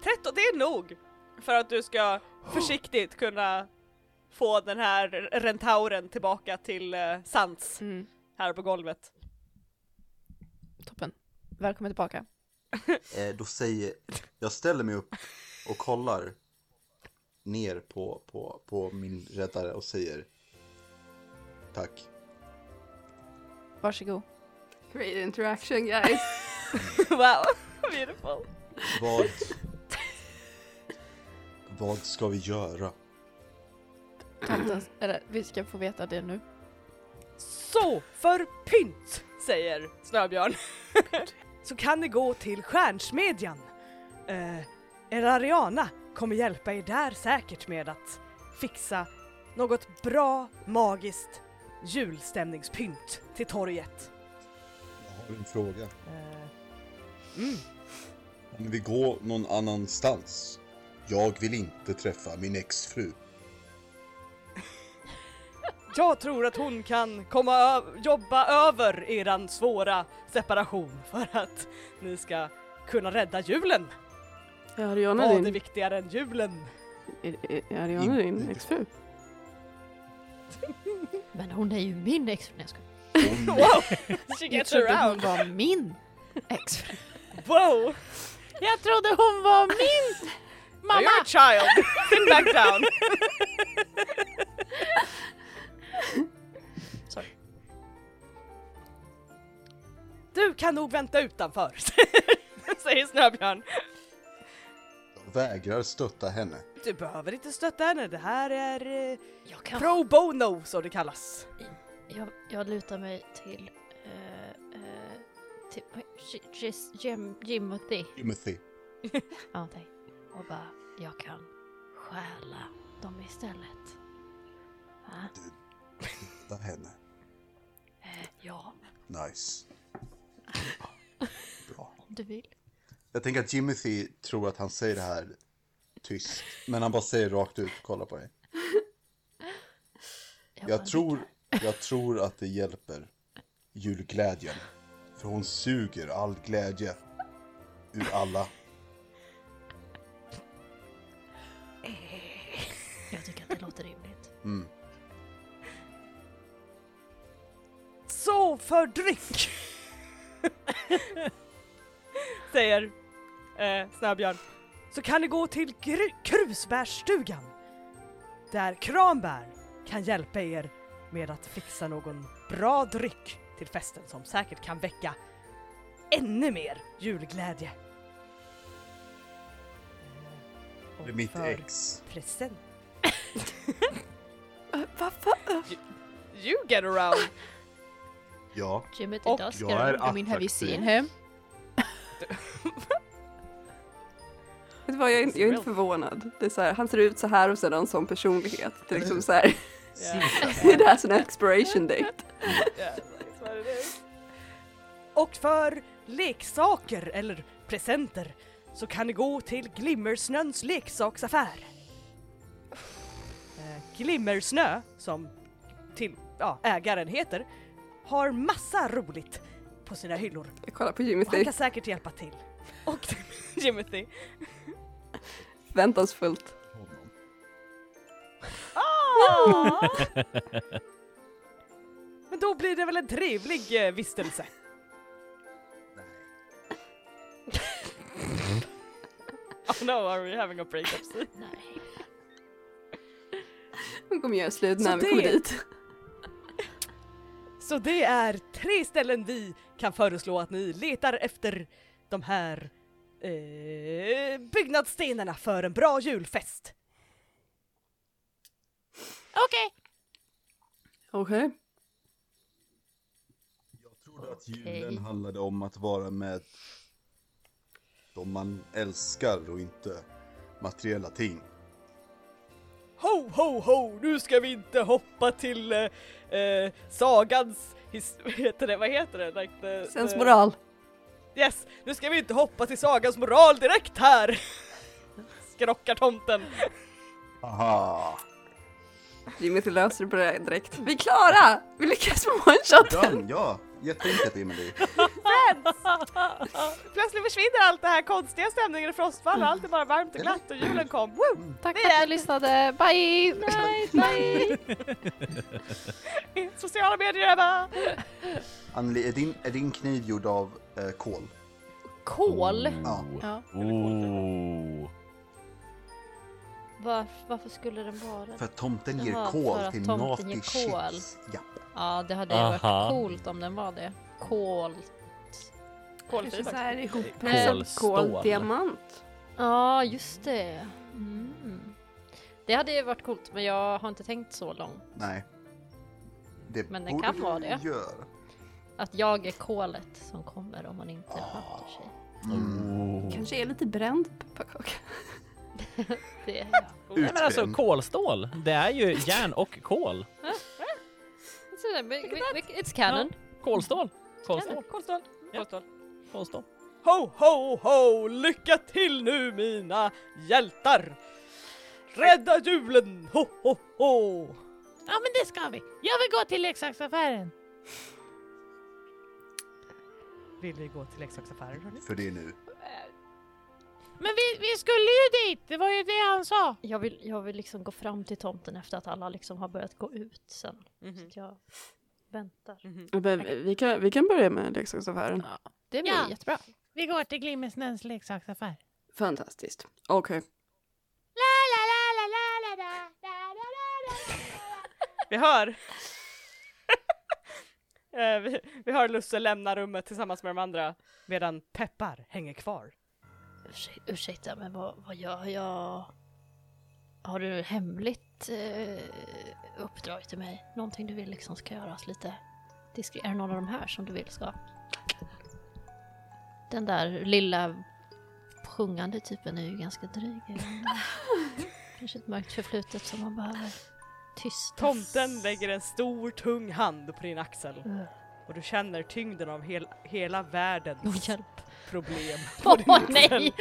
S1: 13, det är nog för att du ska försiktigt kunna få den här rentauren tillbaka till eh, sans
S4: Mm,
S1: här på golvet.
S4: toppen. Välkommen tillbaka.
S5: Eh, då säger jag ställer mig upp och kollar ner på, på, på min räddare och säger tack.
S4: Varsågod.
S3: Great interaction guys.
S1: [LAUGHS] wow, beautiful.
S5: Vad, vad ska vi göra?
S4: Tomten, eller vi ska få veta det nu.
S1: Så för pynt, säger Snöbjörn, [LAUGHS] så kan ni gå till Stjärnsmedjan. Eh, er Ariana kommer hjälpa er där säkert med att fixa något bra magiskt julstämningspynt till torget.
S5: Jag har en fråga.
S1: Eh,
S5: Om vi går någon annanstans? Jag vill inte träffa min exfru.
S1: Jag tror att hon kan komma ö- jobba över eran svåra separation för att ni ska kunna rädda julen.
S8: Är Ariana
S1: Vad är
S8: din,
S1: viktigare än julen?
S8: är, är- är Ariana din exfru?
S2: Men hon är ju min exfru. Nej, jag skojar.
S1: Wow! She
S2: Jag
S1: gets
S2: trodde hon
S1: around!
S2: var [LAUGHS] min exfru.
S1: Wow!
S7: Jag trodde hon var min mamma!
S1: You're a child! Sit back down! Sorry. Du kan nog vänta utanför, [LAUGHS] säger Snöbjörn.
S5: Jag vägrar stötta henne.
S1: Du behöver inte stötta henne, det här är eh,
S2: Jag, kan,
S1: pro bono som det kallas.
S2: jag, jag lutar mig till... eh, eh, till J- J- Jim, Jimothy.
S5: Timothy.
S2: Ja, tack. Och bara, jag kan stjäla dem istället. Va?
S5: Stötta henne.
S2: Eh, ja,
S5: Nice. Bra.
S2: om du vill.
S5: Jag tänker att Timothy tror att han säger det här tyst. Men han bara säger rakt ut, kolla på dig.
S2: bara,
S5: Jag tror, jag tror att det hjälper julglädjen. För hon suger all glädje ur alla.
S2: Jag tycker att det låter rimligt.
S5: Mm.
S1: Så för dryck! [LAUGHS] Säger eh, Snöbjörn. Så kan ni gå till gru- krusbärsstugan. Där Kranbär kan hjälpa er med att fixa någon bra dryck till festen som säkert kan väcka ännu mer julglädje.
S5: Det är mitt
S1: för
S5: ex.
S1: Present.
S3: Va, va?
S1: You get around!
S5: Ja.
S2: Jimothy
S1: Och
S2: does
S5: jag
S2: get
S5: är
S2: it.
S4: I mean, have you seen him?
S3: Vet du vad, jag, är, jag är inte förvånad. Det är så här, han ser ut så här och sen har han sån personlighet. Det är liksom så här, [LAUGHS] det är det här som en expiration date.
S1: Och för leksaker eller presenter så kan ni gå till Glimmersnöns leksaksaffär. Eh, Glimmersnö, som till, ja, ägaren heter, har massa roligt på sina hyllor.
S3: Jag kollar på
S1: Och han
S3: Jimothy
S1: kan säkert hjälpa till. Och Jimothy.
S3: förväntansfullt.
S5: Honom.
S1: Ah! Men då blir det väl en trevlig eh, vistelse? oh no, are we having a breakup?
S2: Nej.
S3: Hon kommer göra slut
S1: Så
S3: när vi
S1: det-
S3: kommer dit.
S1: Så det är tre ställen vi kan föreslå att ni letar efter de här eh, byggnadsstenarna för en bra julfest.
S7: Okej,
S3: Okej.
S5: Jag trodde att
S2: Okej.
S5: julen handlade om att vara med de man älskar och inte materiella ting.
S1: Ho, ho, ho! Nu ska vi inte hoppa till eh, eh, sagans... His- [LAUGHS] vad heter det? Vad heter det? Like the,
S3: Sens
S1: the-
S3: moral.
S1: Yes! Nu ska vi inte hoppa till sagans moral direkt här! Skrockar tomten.
S5: Aha!
S3: Jimothy löser det på det direkt. Vi är klara! Vi lyckas med one-shoten!
S5: Done, ja! Jätteenkelt Emelie.
S1: Plötsligt försvinner allt det här konstiga stämningen i Frostfall och allt är bara varmt och glatt och julen kom. Woo!
S4: Tack för att ni lyssnade, bye! bye.
S1: Sociala medier är bara...
S5: Anneli, är din, är din kniv gjord av eh, kol?
S2: Kol?
S5: Ja.
S4: Ja.
S6: Oh.
S2: Varf- varför skulle den vara
S5: För att tomten ger
S2: Jaha, för
S5: kol
S2: att
S5: till
S2: tomten
S5: naughty
S2: ger kol.
S5: shits. Ja.
S2: Ja, det hade ju varit
S6: Aha.
S2: coolt om den var det. Kol.
S8: Kanske så här ihop
S1: alltså,
S6: Kolstål.
S8: diamant.
S2: Ja, just det. Mm. Det hade ju varit coolt, men jag har inte tänkt så långt.
S5: Nej. Det
S2: Men det
S5: borde
S2: kan
S5: du
S2: vara det.
S5: Göra.
S2: Att jag är kolet som kommer om man inte sköter sig.
S8: Kanske är lite bränd pepparkaka.
S2: Det är jag.
S6: Nej, men alltså kolstål, det är ju järn och kol.
S2: Så där, vi- vi- vi- It's canon.
S6: Kolstål. Kolstål.
S1: Kolstål. Kolstål.
S6: Kolstål.
S1: Ho, ho, ho! Lycka till nu mina hjältar! Rädda julen! Ho, ho, ho!
S7: Ja men det ska vi. Jag vill gå till leksaksaffären.
S1: Vill ni gå till leksaksaffären hörni?
S5: För det är nu.
S7: Men vi, vi skulle ju dit, det var ju det han sa.
S2: Jag vill, jag vill liksom gå fram till tomten efter att alla liksom har börjat gå ut sen. Så att jag väntar.
S8: Men vi, kan, vi kan börja med leksaksaffären.
S4: Det blir
S7: Ja.
S4: jättebra.
S7: Vi går till Glimmesnäs leksaksaffär.
S8: Fantastiskt. Okej.
S7: La la la la la la la la la la la
S1: Vi hör! [LAUGHS] Eh, vi, vi hör Lusse lämna rummet tillsammans med de andra medan Peppar hänger kvar.
S2: Ursä- ursäkta, men vad, vad gör jag? Har du hemligt eh, uppdrag till mig? Någonting du vill liksom ska göras lite diskret? Är det någon av de här som du vill ska? Den där lilla sjungande typen är ju ganska dryg. är den? Kanske ett mörkt förflutet som man behöver tysta.
S1: Tomten lägger en stor tung hand på din axel
S2: Mm.
S1: och du känner tyngden av hel, hela världens
S2: Åh, hjälp.
S1: problem.
S2: Åh nej!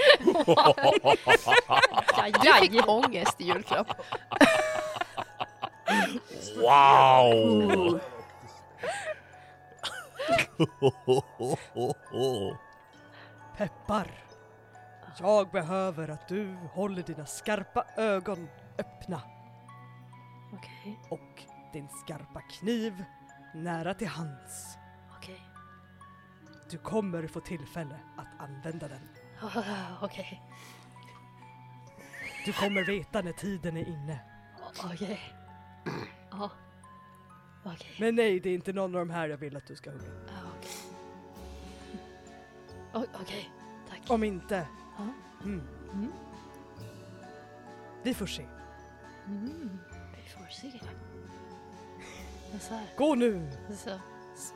S4: Jag fick ångest i julklapp.
S6: Wow!
S1: Peppar, jag behöver att du håller dina skarpa ögon öppna
S2: Okej,
S1: och din skarpa kniv nära till hands.
S2: okej.
S1: Du kommer få tillfälle att använda den.
S2: Okej,
S1: Du kommer veta när tiden är inne.
S2: okej. Ja. Okej.
S1: Men nej, det är inte någon av de här jag vill att du ska hugga.
S2: Ja, Okej. O- Okej, tack.
S1: Om inte...
S2: Ja.
S1: Mm.
S4: Mm.
S1: Vi får se.
S4: Mm.
S2: Vi får se. Men så här,
S1: Gå [LAUGHS] nu!
S2: så, s-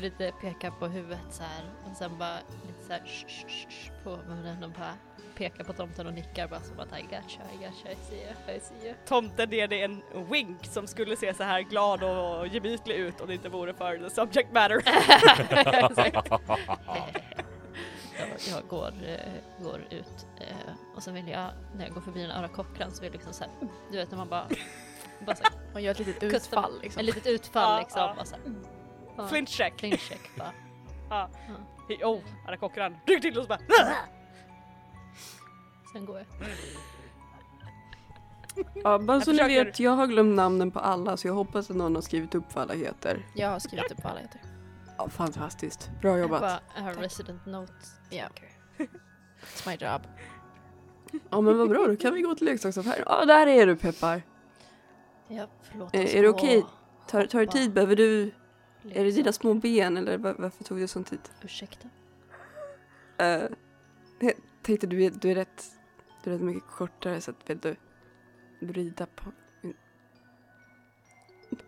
S2: lite peka på huvudet så här och sen bara lite så här sh, sh, sh, sh, på munnen och bara pekar på tomten och nickar bara som att I gotcha, I gotcha, I see you, I see you.
S1: Tomten ger dig en wink som skulle se så här glad och gemytlig ut om det inte vore för the subject matter.
S2: Exakt. [LAUGHS] jag, jag går, eh, går ut eh, och sen vill jag, när jag går förbi den andra kockran så vill jag liksom så här, du vet när man bara, bara så här,
S4: Man gör ett litet
S2: Custom-
S4: utfall
S2: ett
S4: liksom.
S2: litet
S1: Ja,
S2: utfall liksom.
S1: ja.
S2: Bara så här, mm. Ja.
S1: Flint check.
S2: Flincheck bara.
S1: He- Oh, andra kockran rycker till och så bara...
S2: Sen går jag.
S8: Ja, bara
S1: Jag
S8: så ni
S1: försöker-
S8: vet, jag har glömt namnen på alla så jag hoppas att någon har skrivit upp vad alla heter.
S4: Jag har skrivit upp alla heter.
S8: Ja, fantastiskt. Bra
S2: Jag
S8: jobbat.
S2: bara, I have resident notes.
S4: Ja. It's my job.
S8: Ja men vad bra, då kan vi gå till leksaksaffären. Ja, där är du Peppar.
S2: Ja, förlåt.
S8: Eh,
S2: jag
S8: är
S2: ska
S8: det
S2: gå
S8: okej?
S2: och
S8: Tar, tar det
S2: hoppa
S8: tid? Behöver du...
S2: lite.
S8: Är det dina små ben eller va- varför tog det sån tid?
S2: Ursäkta?
S8: Eh, jag tänkte du är, du är rätt... Du är rätt mycket kortare så att vill du rida på...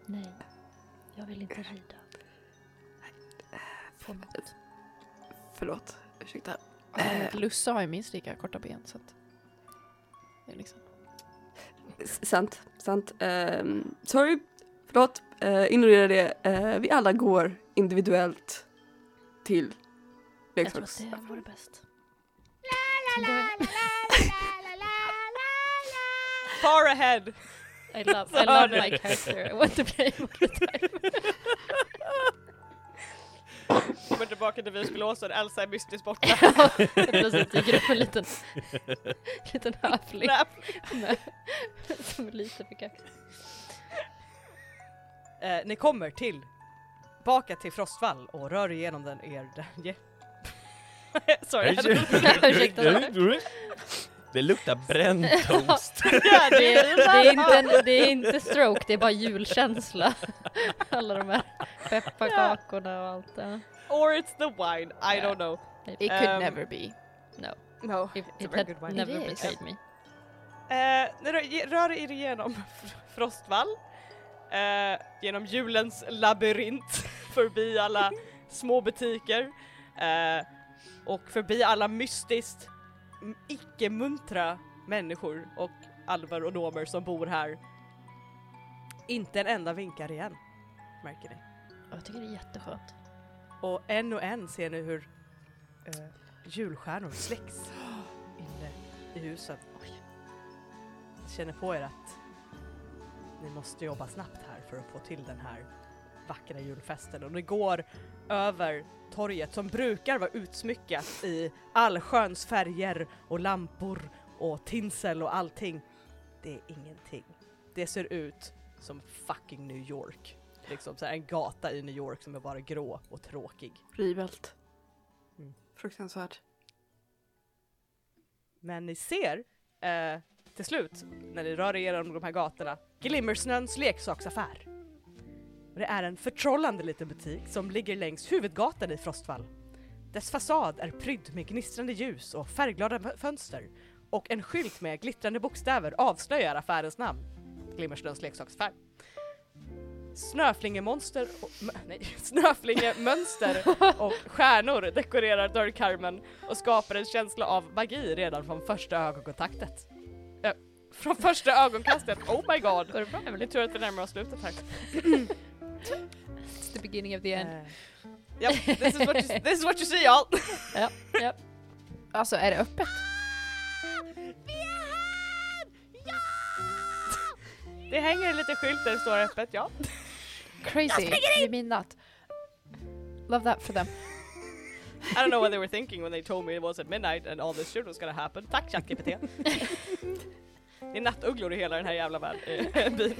S2: Nej. Jag vill inte rida. På något.
S8: eh, Förlåt, ursäkta.
S4: Eh, Lusse har ju minst lika korta ben så att... Det är liksom...
S8: S- sant, sant. Ehm, sorry, förlåt. Uh, ignorera det. Eh, vi alla går individuellt till
S2: Jag tror
S8: leksaks...
S2: att det vore bäst.
S7: la la la.
S1: Far ahead!
S2: I love, I
S1: [LAUGHS] Så
S2: love
S1: hörde
S2: my character. I want to play all the [LAUGHS] time.
S1: Kommer tillbaka till Visbyblåsen, Elsa är mystiskt
S2: [LAUGHS]
S1: borta.
S2: Plötsligt dyker upp en liten, liten höfling med- som är lite för kaxig.
S1: Eh, ni kommer till tillbaka till Frostvall och rör igenom den er... [LAUGHS] Sorry, jag hade- [LAUGHS]
S2: Ursäkta.
S6: Det luktar bränd toast.
S1: Ja,
S2: Det,
S1: det är-
S2: det, är inte en, det är inte stroke, det är bara julkänsla. [LAUGHS] Alla de här pepparkakorna och allt det.
S1: Or it's the wine, I
S4: Ja.
S1: don't know.
S4: It could
S1: Ehm,
S4: never be.
S1: No.
S2: It,
S1: a
S2: it
S1: very
S2: had
S1: good wine.
S2: never
S4: It is.
S2: betrayed me.
S1: Eh, ni rör- rör er igenom [LAUGHS] Frostvall, eh, genom julens labyrint, [LAUGHS] förbi alla små butiker eh, och förbi alla mystiskt m- icke-muntra människor och alver och nomer som bor här. Inte en enda vinkar igen, märker ni.
S2: Jag tycker det är jätteskönt.
S1: Och en och en ser ni hur eh, julstjärnor släcks inne i husen. Känner på er att ni måste jobba snabbt här. för att få till den här vackra julfesten och ni går över torget som brukar vara utsmyckat i allsköns färger och lampor och tinsel och allting. Det är ingenting. Det ser ut som fucking New York. Liksom så här en gata i New York som är bara grå och tråkig.
S8: Horribelt.
S1: Mm.
S8: Fruktansvärt.
S1: Men ni ser eh, till slut, när ni rör er genom de här gatorna, Glimmersnöns leksaksaffär. Och Det är en förtrollande liten butik som ligger längs huvudgatan i Frostvall. Dess fasad är prydd med gnistrande ljus och färgglada fö- fönster och en skylt med glittrande bokstäver avslöjar affärens namn, Glimmersnöns leksaksaffär. Snöflingemonster och, m- [LAUGHS] nej, snöflingemönster och stjärnor dekorerar dörrkarmen och skapar en känsla av magi redan från första ögonkontaktet. Äh, från första ögonkastet, oh my god!
S4: Går det bra
S1: Det är
S4: Emelie?
S1: tur att vi närmar oss slutet här.
S4: It's the beginning of the
S2: Ehm,
S4: end.
S1: Eh, Japp, this, is what you, this is what you see all!
S4: Alltså är det öppet?
S1: Det hänger en liten skylt där det står öppet, ja.
S4: Crazy. You mean that. Love that for them.
S1: I don't know what they were thinking when they told me it was at midnight and all this shit was gonna happen. Tack ChatGPT! det är nattugglor i hela den här jävla världen, eh, byn.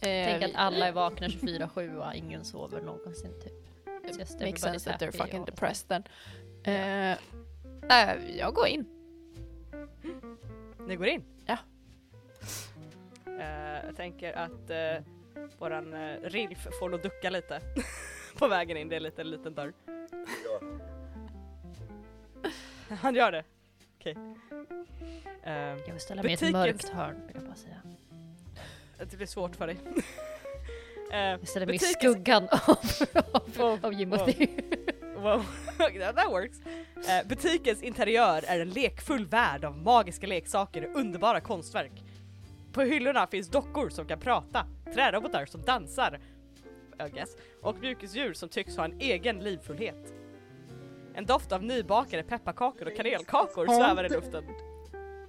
S2: Tänk att alla är vakna 24-7 och ingen sover någonsin typ. Just
S4: Makes sense that they're
S2: everybody's happy
S4: fucking
S2: all the
S4: depressed then. Eh, eh,
S2: Äh,
S4: jag går in.
S1: Ni går in?
S4: Ja.
S1: Eh, jag tänker att eh, våran eh, Rilf får nog ducka lite [LAUGHS] på vägen in, det är lite, en liten dörr. [LAUGHS] Han gör det? Okej. Eh,
S2: Jag vill ställa mig i ett
S1: Butiken-
S2: mörkt hörn vill jag bara säga.
S1: det blir svårt för dig. [LAUGHS] Eh,
S2: Jag ställer mig i
S1: Butiken-
S2: skuggan [LAUGHS] av, av, av Jimothy.
S1: [LAUGHS] Wow, that, that works. Eh, butikens interiör är en lekfull värld av magiska leksaker och underbara konstverk. På hyllorna finns dockor som kan prata, trärobotar som dansar, I guess, och mjukisdjur som tycks ha en egen livfullhet. En doft av nybakade pepparkakor och kanelkakor svävar i luften. [LAUGHS]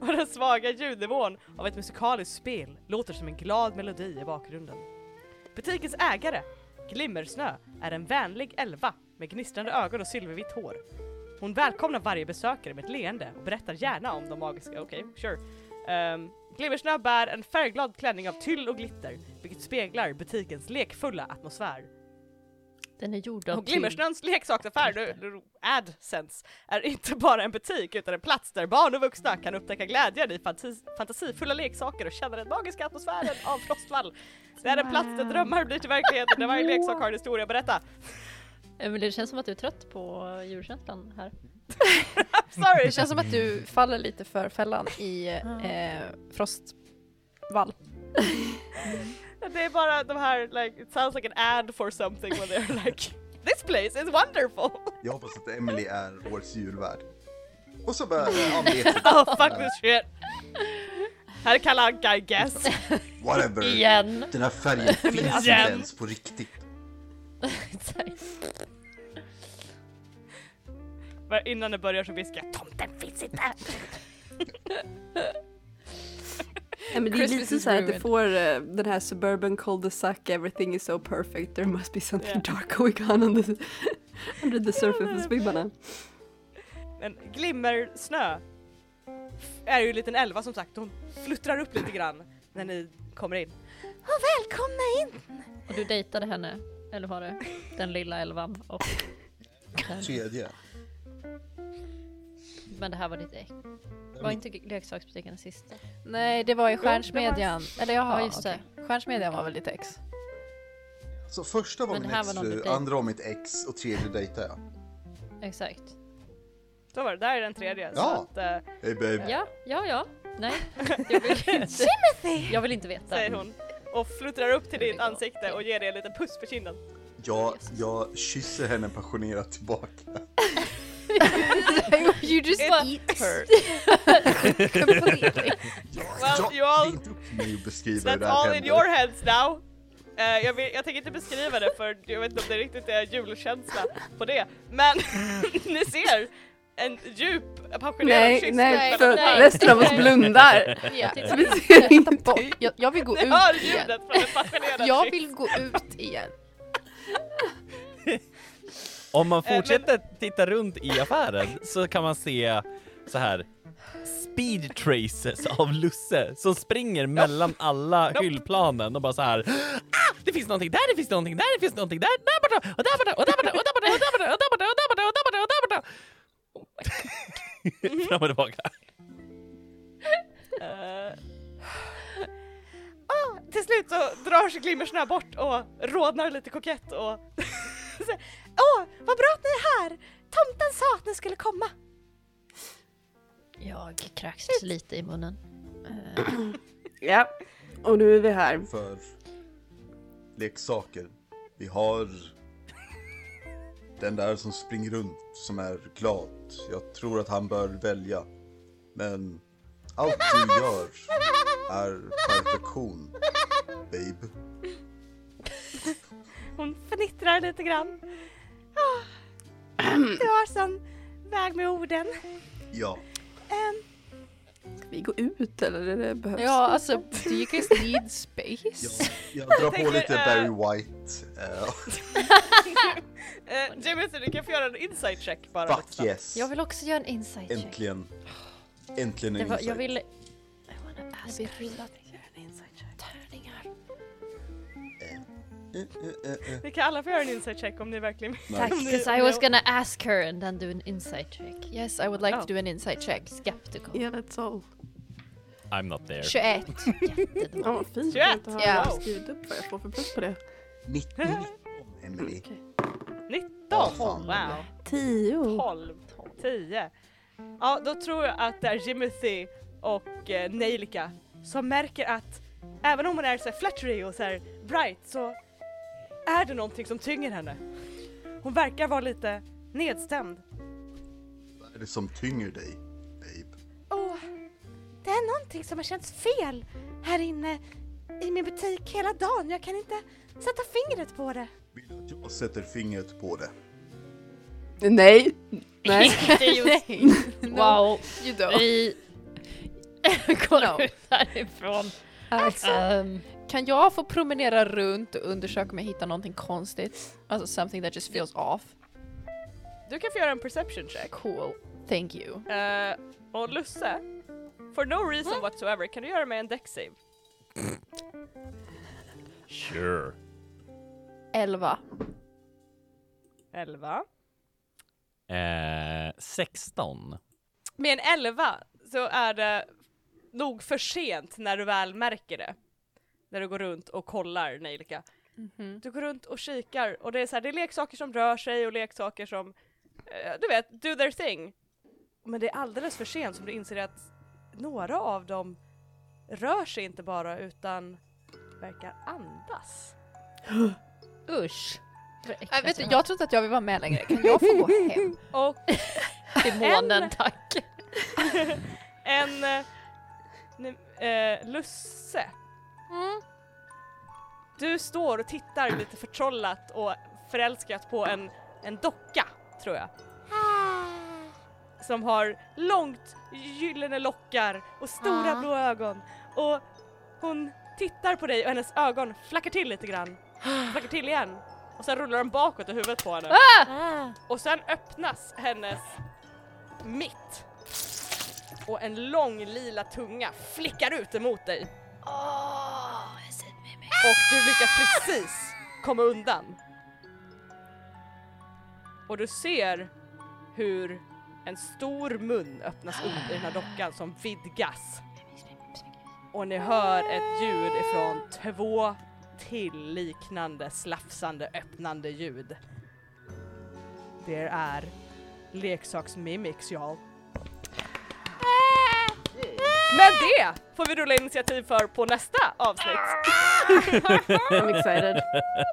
S1: och den svaga ljudnivån av ett musikaliskt spel låter som en glad melodi i bakgrunden. Butikens ägare Glimmersnö är en vänlig elva med gnistrande ögon och silvervitt hår. Hon välkomnar varje besökare med ett leende och berättar gärna om de magiska, okej, sure. Ehm, Glimmersnö bär en färgglad klänning av tyll och glitter, vilket speglar butikens lekfulla atmosfär.
S2: Den är gjord av
S1: Och Glimmersnöns leksaksaffär, nu, nu- AdSense, är inte bara en butik utan en plats där barn och vuxna kan upptäcka glädjen i fantasi, fantasifulla leksaker och känna den magiska atmosfären av Frostvall. Det är en plats där drömmar blir till verklighet och där varje leksak har en historia att berätta.
S2: Emelie, det känns som att du är trött på djurkänslan här.
S1: Sorry!
S4: Det känns som att du faller lite för fällan i eh, Frostvall.
S1: Det är bara de här, like, it sounds like an ad for something when they're like This place is wonderful! [LAUGHS]
S5: Jag hoppas att Emily är årets julvärd. Och så bara, ja, men det-
S1: Oh fuck this shit! Här är Kalle Anka I guess.
S2: [LAUGHS]
S5: whatever.
S2: Igen!
S5: Den
S2: [LAUGHS]
S5: här färgen finns
S2: alltså-
S5: inte
S1: Igen.
S5: ens på riktigt.
S1: Men Innan det börjar så viskar jag Tomten finns inte!
S8: Ja, men det är
S4: Christmas
S8: lite
S4: is
S8: så här att det
S4: ruined.
S8: får eh, den här suburban cul-de-sac, everything is so perfect, there must be something
S1: Ja.
S8: dark going on under, [LAUGHS] under the surface-vibbarna.
S1: Men Glimmersnö f- är ju en liten elva som sagt, hon fluttrar upp lite grann när ni kommer in.
S2: Och du dejtade henne, eller var det den lilla elvan? Och den.
S5: Tredje.
S2: Men det här var ditt äck. Var inte leksaksbutiken den sista?
S4: Nej, det var ju Stjärnsmedjan. Eller jaha,
S2: Ja, just det.
S4: okej. Stjärnsmedjan var väl ditt [LAUGHS] ex?
S5: Så första var
S2: Men
S5: min
S2: här var någon
S5: exfru,
S2: dejt.
S5: andra var mitt ex och tredje dejtade jag.
S2: Exakt.
S1: Så var det, där är den tredje. Så
S5: Ja.
S1: att, eh,
S5: Hey babe.
S2: Ja, ja, ja. [LAUGHS] Nej. Jag vill inte, jag vill inte veta.
S1: säger hon. Och fluttrar upp till
S2: Here we
S1: ditt
S2: go.
S1: ansikte och ger dig en liten puss på kinden.
S5: Jag, jag kysser henne passionerat tillbaka.
S4: you just
S1: It's-
S4: eat [LAUGHS] her. Completely.
S1: Well,
S5: jag,
S1: you all-
S5: Det är inte upp till mig att beskriva hur
S1: That's
S5: det här
S1: all in
S5: händer.
S1: your heads now. Eh, jag, vill, jag tänker inte beskriva det för jag vet inte om det riktigt är julkänsla på det. Men [LAUGHS] ni ser en djup pensionerad
S3: Nej,
S1: kyss
S4: nej,
S3: nej, för
S4: nej.
S3: resten av oss
S4: [LAUGHS]
S3: blundar.
S4: Ja.
S2: tittar
S3: Så vi
S4: Jag
S3: ser
S4: tittar
S3: inte.
S4: bort. Jag, jag vill gå
S1: Ni hör
S4: ut igen.
S1: ljudet från en pensionerad
S4: Jag
S1: kyss.
S4: vill gå ut igen.
S6: Om man
S1: Eh, men-
S6: fortsätter titta runt i affären så kan man se så här speed traces av Lusse som springer mellan alla hyllplanen och bara så här ah, det finns någonting där, det finns någonting där, det finns någonting där, där borta, och där borta, och där borta, och där borta, och där borta, och där borta, och där borta, och där borta, och där borta.
S1: Oh
S6: [LAUGHS] Fram och tillbaka.
S1: Eh. Ah, till slut så drar sig glimmersnö bort och rodnar lite kokett och [LAUGHS] säger Åh, vad bra att ni är här! Tomten sa att ni skulle komma.
S2: Jag kraxas lite i munnen. Eh,
S3: Ja, och nu är vi här.
S5: För leksaker. Vi har den där som springer runt som är glad. Jag tror att han bör välja. Men allt du gör är perfektion, babe.
S1: Hon fnittrar lite grann.
S3: [CLEARS THROAT]
S1: Ah, du har sån väg med orden.
S5: Ja.
S1: Ehm,
S3: Ska vi gå ut eller är det behövs?
S4: Ja, alltså, do you guys [LAUGHS] need space?
S5: Jag, jag drar på
S1: tänker,
S5: lite
S1: eh,
S5: Barry White. eh,
S1: eh, Jimmy, så du kan få göra en insight check bara. lite
S5: fuck
S1: snabbt.
S5: yes!
S2: jag vill också göra en insight check.
S5: Äntligen. Äntligen
S2: Det
S5: en
S2: var, jag
S5: insight.
S2: vill... I wanna ask her to göra en insight check. Tärningar.
S5: Eh, eh, eh.
S1: Ni kan alla få göra en insight check om ni verkligen vill.
S2: Tack,
S1: Om ni-
S2: because I was gonna ask her and then do an insight check.
S4: Yes, I would like
S1: Oh.
S4: to do an insight check.
S2: Skeptical.
S3: Yeah, that's all.
S6: I'm not there.
S4: 21.
S3: Ja,
S2: [LAUGHS]
S3: vad fint.
S1: 21,
S3: Jag har
S4: ja.
S3: inte skrivit upp vad jag får för plus på det.
S5: 19, Emily.
S1: 19!
S5: fan.
S1: Wow.
S3: Tio.
S1: 12, 10. Ja, då tror jag att det är Jimothy och eh, Nejlika som märker att även om hon är så här flattery och så här bright så är det någonting som tynger henne. Hon verkar vara lite nedstämd.
S5: Vad är det som tynger dig, babe?
S1: Åh, det är någonting som har känts fel här inne i min butik hela dagen. Jag kan inte sätta fingret på det.
S5: Vill du att jag sätter fingret på det?
S3: Nej. Nej.
S2: [LAUGHS]
S4: [LAUGHS]
S2: Wow,
S4: You don't.
S2: vi [LAUGHS] går
S4: No.
S2: ut härifrån.
S4: Alltså,
S2: Ehm,
S4: kan jag få promenera runt och undersöka om jag hittar någonting konstigt? Alltså something that just feels off.
S1: Du kan få göra en perception check.
S4: Cool. Thank you.
S1: Eh, och Lusse, for no
S3: Mm.
S1: reason whatsoever, kan du göra mig en deck save?
S6: Sure.
S4: 11.
S1: 11.
S6: Eh, 16.
S1: Med en 11 så är det nog för sent när du väl märker det. När du går runt och kollar Nejlika.
S4: Mm-hmm.
S1: Du går runt och kikar och det är så här, det är leksaker som rör sig och leksaker som, eh, du vet, do their thing. Men det är alldeles för sent som du inser att några av dem rör sig inte bara utan verkar andas.
S2: usch. Vad
S4: Äh,
S2: äckligt
S4: vet du,
S2: det var.
S4: jag tror inte att jag vill vara med längre. Kan jag få gå [LAUGHS] hem?
S1: Och
S2: Demonen,
S1: en-
S2: tack.
S1: en eh, nu- eh, lusse. Du står och tittar lite förtrollat och förälskat på en, en docka, tror jag. Som har långt gyllene lockar och stora
S4: Ah.
S1: blå ögon. Och hon tittar på dig och hennes ögon flackar till lite grann. Flackar till igen. Och sen rullar de bakåt i huvudet på henne. Och sen öppnas hennes mitt. Och en lång lila tunga flickar ut emot dig. Och du lyckas precis komma undan. Och du ser hur en stor mun öppnas upp i den här dockan som vidgas. Och ni hör ett ljud ifrån två till liknande slafsande öppnande ljud. Det är leksaksmimics y'all. Men det får vi rulla initiativ för på nästa avsnitt.
S3: I'm excited.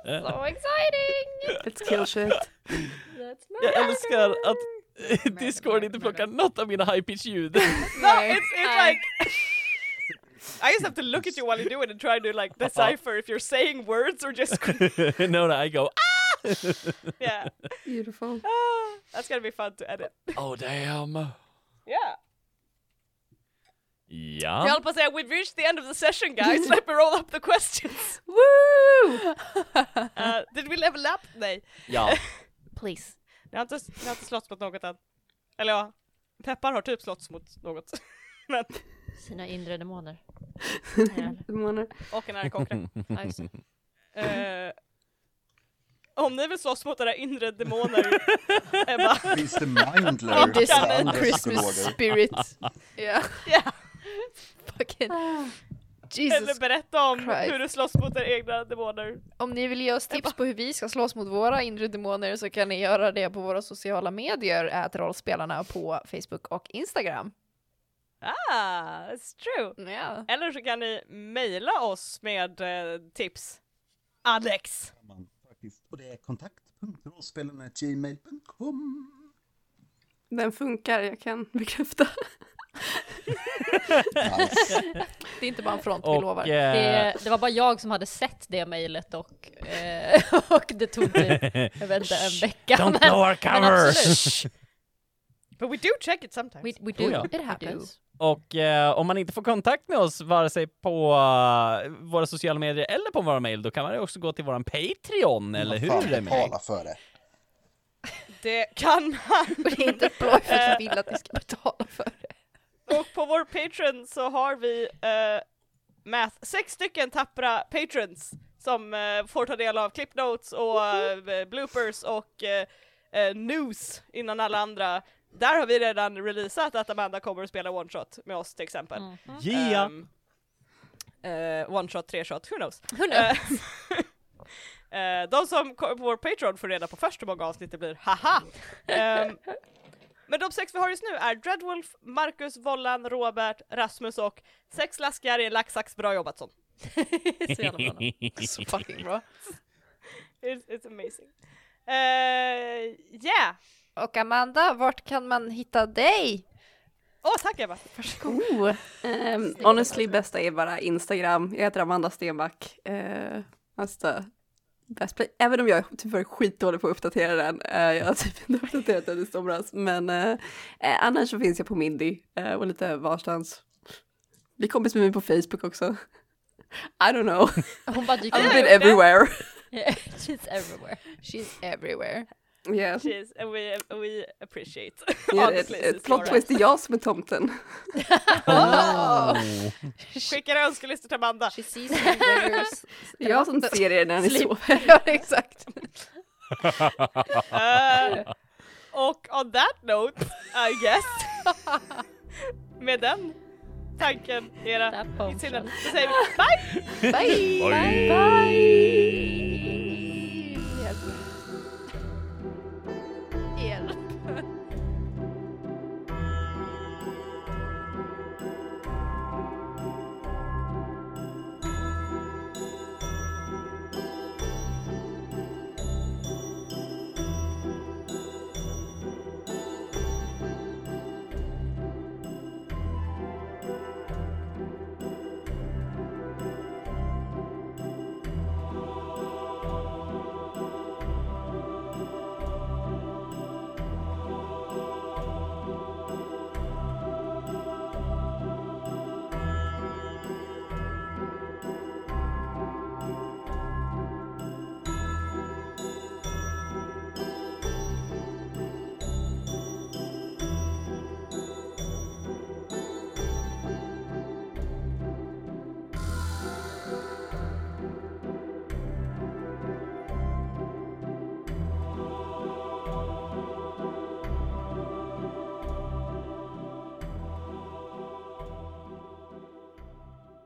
S2: So exciting!
S3: Let's kill
S4: [LAUGHS]
S3: shit.
S2: That's
S6: Jag älskar att [LAUGHS] Discord inte plockar något av mina high-pitch ljud.
S1: No, it's it's [LAUGHS] like I just have to look at you while you do it and try to like decipher if you're saying words or just
S6: [LAUGHS] no, no, I go ah!
S1: [LAUGHS] Yeah.
S3: Beautiful.
S1: Ah, that's gonna be fun to edit.
S6: Oh damn.
S1: Yeah. Jag
S6: Ja.
S1: höll på att säga we've reached the end of the session [LAUGHS] guys, let me roll up the [LAUGHS] questions.
S3: Woo!
S1: Uh, did we level up? Nej.
S6: ja.
S2: Please.
S1: Ni har inte, ni har inte slått mot något än. Eller ja, Peppar har typ slått mot något. Men,
S2: Sina inre demoner.
S8: [LAUGHS]
S3: Demoner.
S1: [LAUGHS] och en ärkåkra.
S2: Ja, just det.
S1: [LAUGHS] Eh, om ni vill slåss mot era inre demoner, Ebba,
S5: Finns det Mindler
S1: This
S5: och andra
S1: Christmas
S5: psykologer?
S4: Spirit. Ja. Ah.
S1: Ja.
S4: Fucking
S1: eller
S4: Jesus.
S1: berätta om
S4: Christ.
S1: hur du slåss mot era egna demoner.
S4: Om ni vill ge oss tips på hur vi ska slåss mot våra inre demoner så kan ni göra det på våra sociala medier, att rollspelarna på Facebook och Instagram.
S1: Ah, it's true.
S4: Ja.
S1: Eller så kan ni mejla oss med eh, tips. Alex!
S5: Man faktiskt- Och det är kontakt.rollspelarna.gmail.com
S8: Den funkar, jag kan bekräfta.
S6: [LAUGHS]
S5: Nice.
S4: Det är inte bara en front, vi
S6: Och
S4: lovar.
S6: eh,
S2: Det, det var bara jag som hade sett det mejlet och, eh, [LAUGHS] och det tog typ, jag vet inte, en vecka.
S6: [LAUGHS] don't blow our cover!
S2: absolut.
S1: But we do check it sometimes.
S2: We, we
S6: Oh, ja.
S2: do, it happens.
S6: [LAUGHS] Och eh, om man inte får kontakt med oss vare sig på eh, våra sociala medier eller på våra mail, då kan man ju också gå till våran Patreon, eller
S5: Fan,
S6: hur? Emily?
S5: Betala för det.
S1: Det kan man! [LAUGHS]
S4: Och det är inte Ploy för att jag vill att ni ska betala för det.
S1: Och på vår Patreon så har vi eh, med sex stycken tappra patrons som eh, får ta del av clip notes och eh, bloopers och eh, eh, news innan alla andra. Där har vi redan releasat att Amanda kommer att spela one shot med oss till exempel.
S6: Yeah!
S1: Ehm, eh, one shot, tre shot, who knows?
S2: Who knows?
S1: Eh, [LAUGHS] de som kommer på vår Patreon får reda på först hur många avsnitt det blir, haha! Ehm, men de sex vi har just nu är Dreadwolf, Marcus, Vollan, Robert, Rasmus och sex laskar i en laxax, bra jobbat sån.
S2: Så jävla bra.
S4: Så
S6: [LAUGHS]
S4: fucking bra.
S1: It's, it's amazing. Eh, yeah!
S4: Och Amanda, vart kan man hitta dig?
S1: Åh tack Ebba!
S8: Oh. ehm, honestly, bästa är bara Instagram. Jag heter Amanda Stenback. Uh, alltså, best play. Även om jag är typ varit skitdålig på att uppdatera den. Eh, jag har typ inte uppdaterat den i somras. Men eh, eh, annars så finns jag på Mindy eh, och lite varstans. Bli kompis med mig på Facebook också. I don't know.
S2: Hon bara dyker
S8: I've
S2: upp.
S8: been everywhere.
S2: [LAUGHS] She's everywhere.
S4: She's everywhere.
S8: Yeah.
S1: Cheers, and we, we appreciate.
S8: Yeah,
S1: Honestly,
S8: ett, ett
S1: Cecilia.
S8: plot twist, det är jag som är tomten.
S1: Skickar önskelistor till Amanda.
S4: She sees you when you're
S8: Det är jag som ser er när ni
S4: Sleep.
S8: sover.
S4: [LAUGHS] Ja, exakt.
S1: Eh, och on that note, I guess. [LAUGHS] Med den tanken i era
S2: That bombshell.
S1: sinnen så säger vi bye!
S4: Bye!
S6: Bye.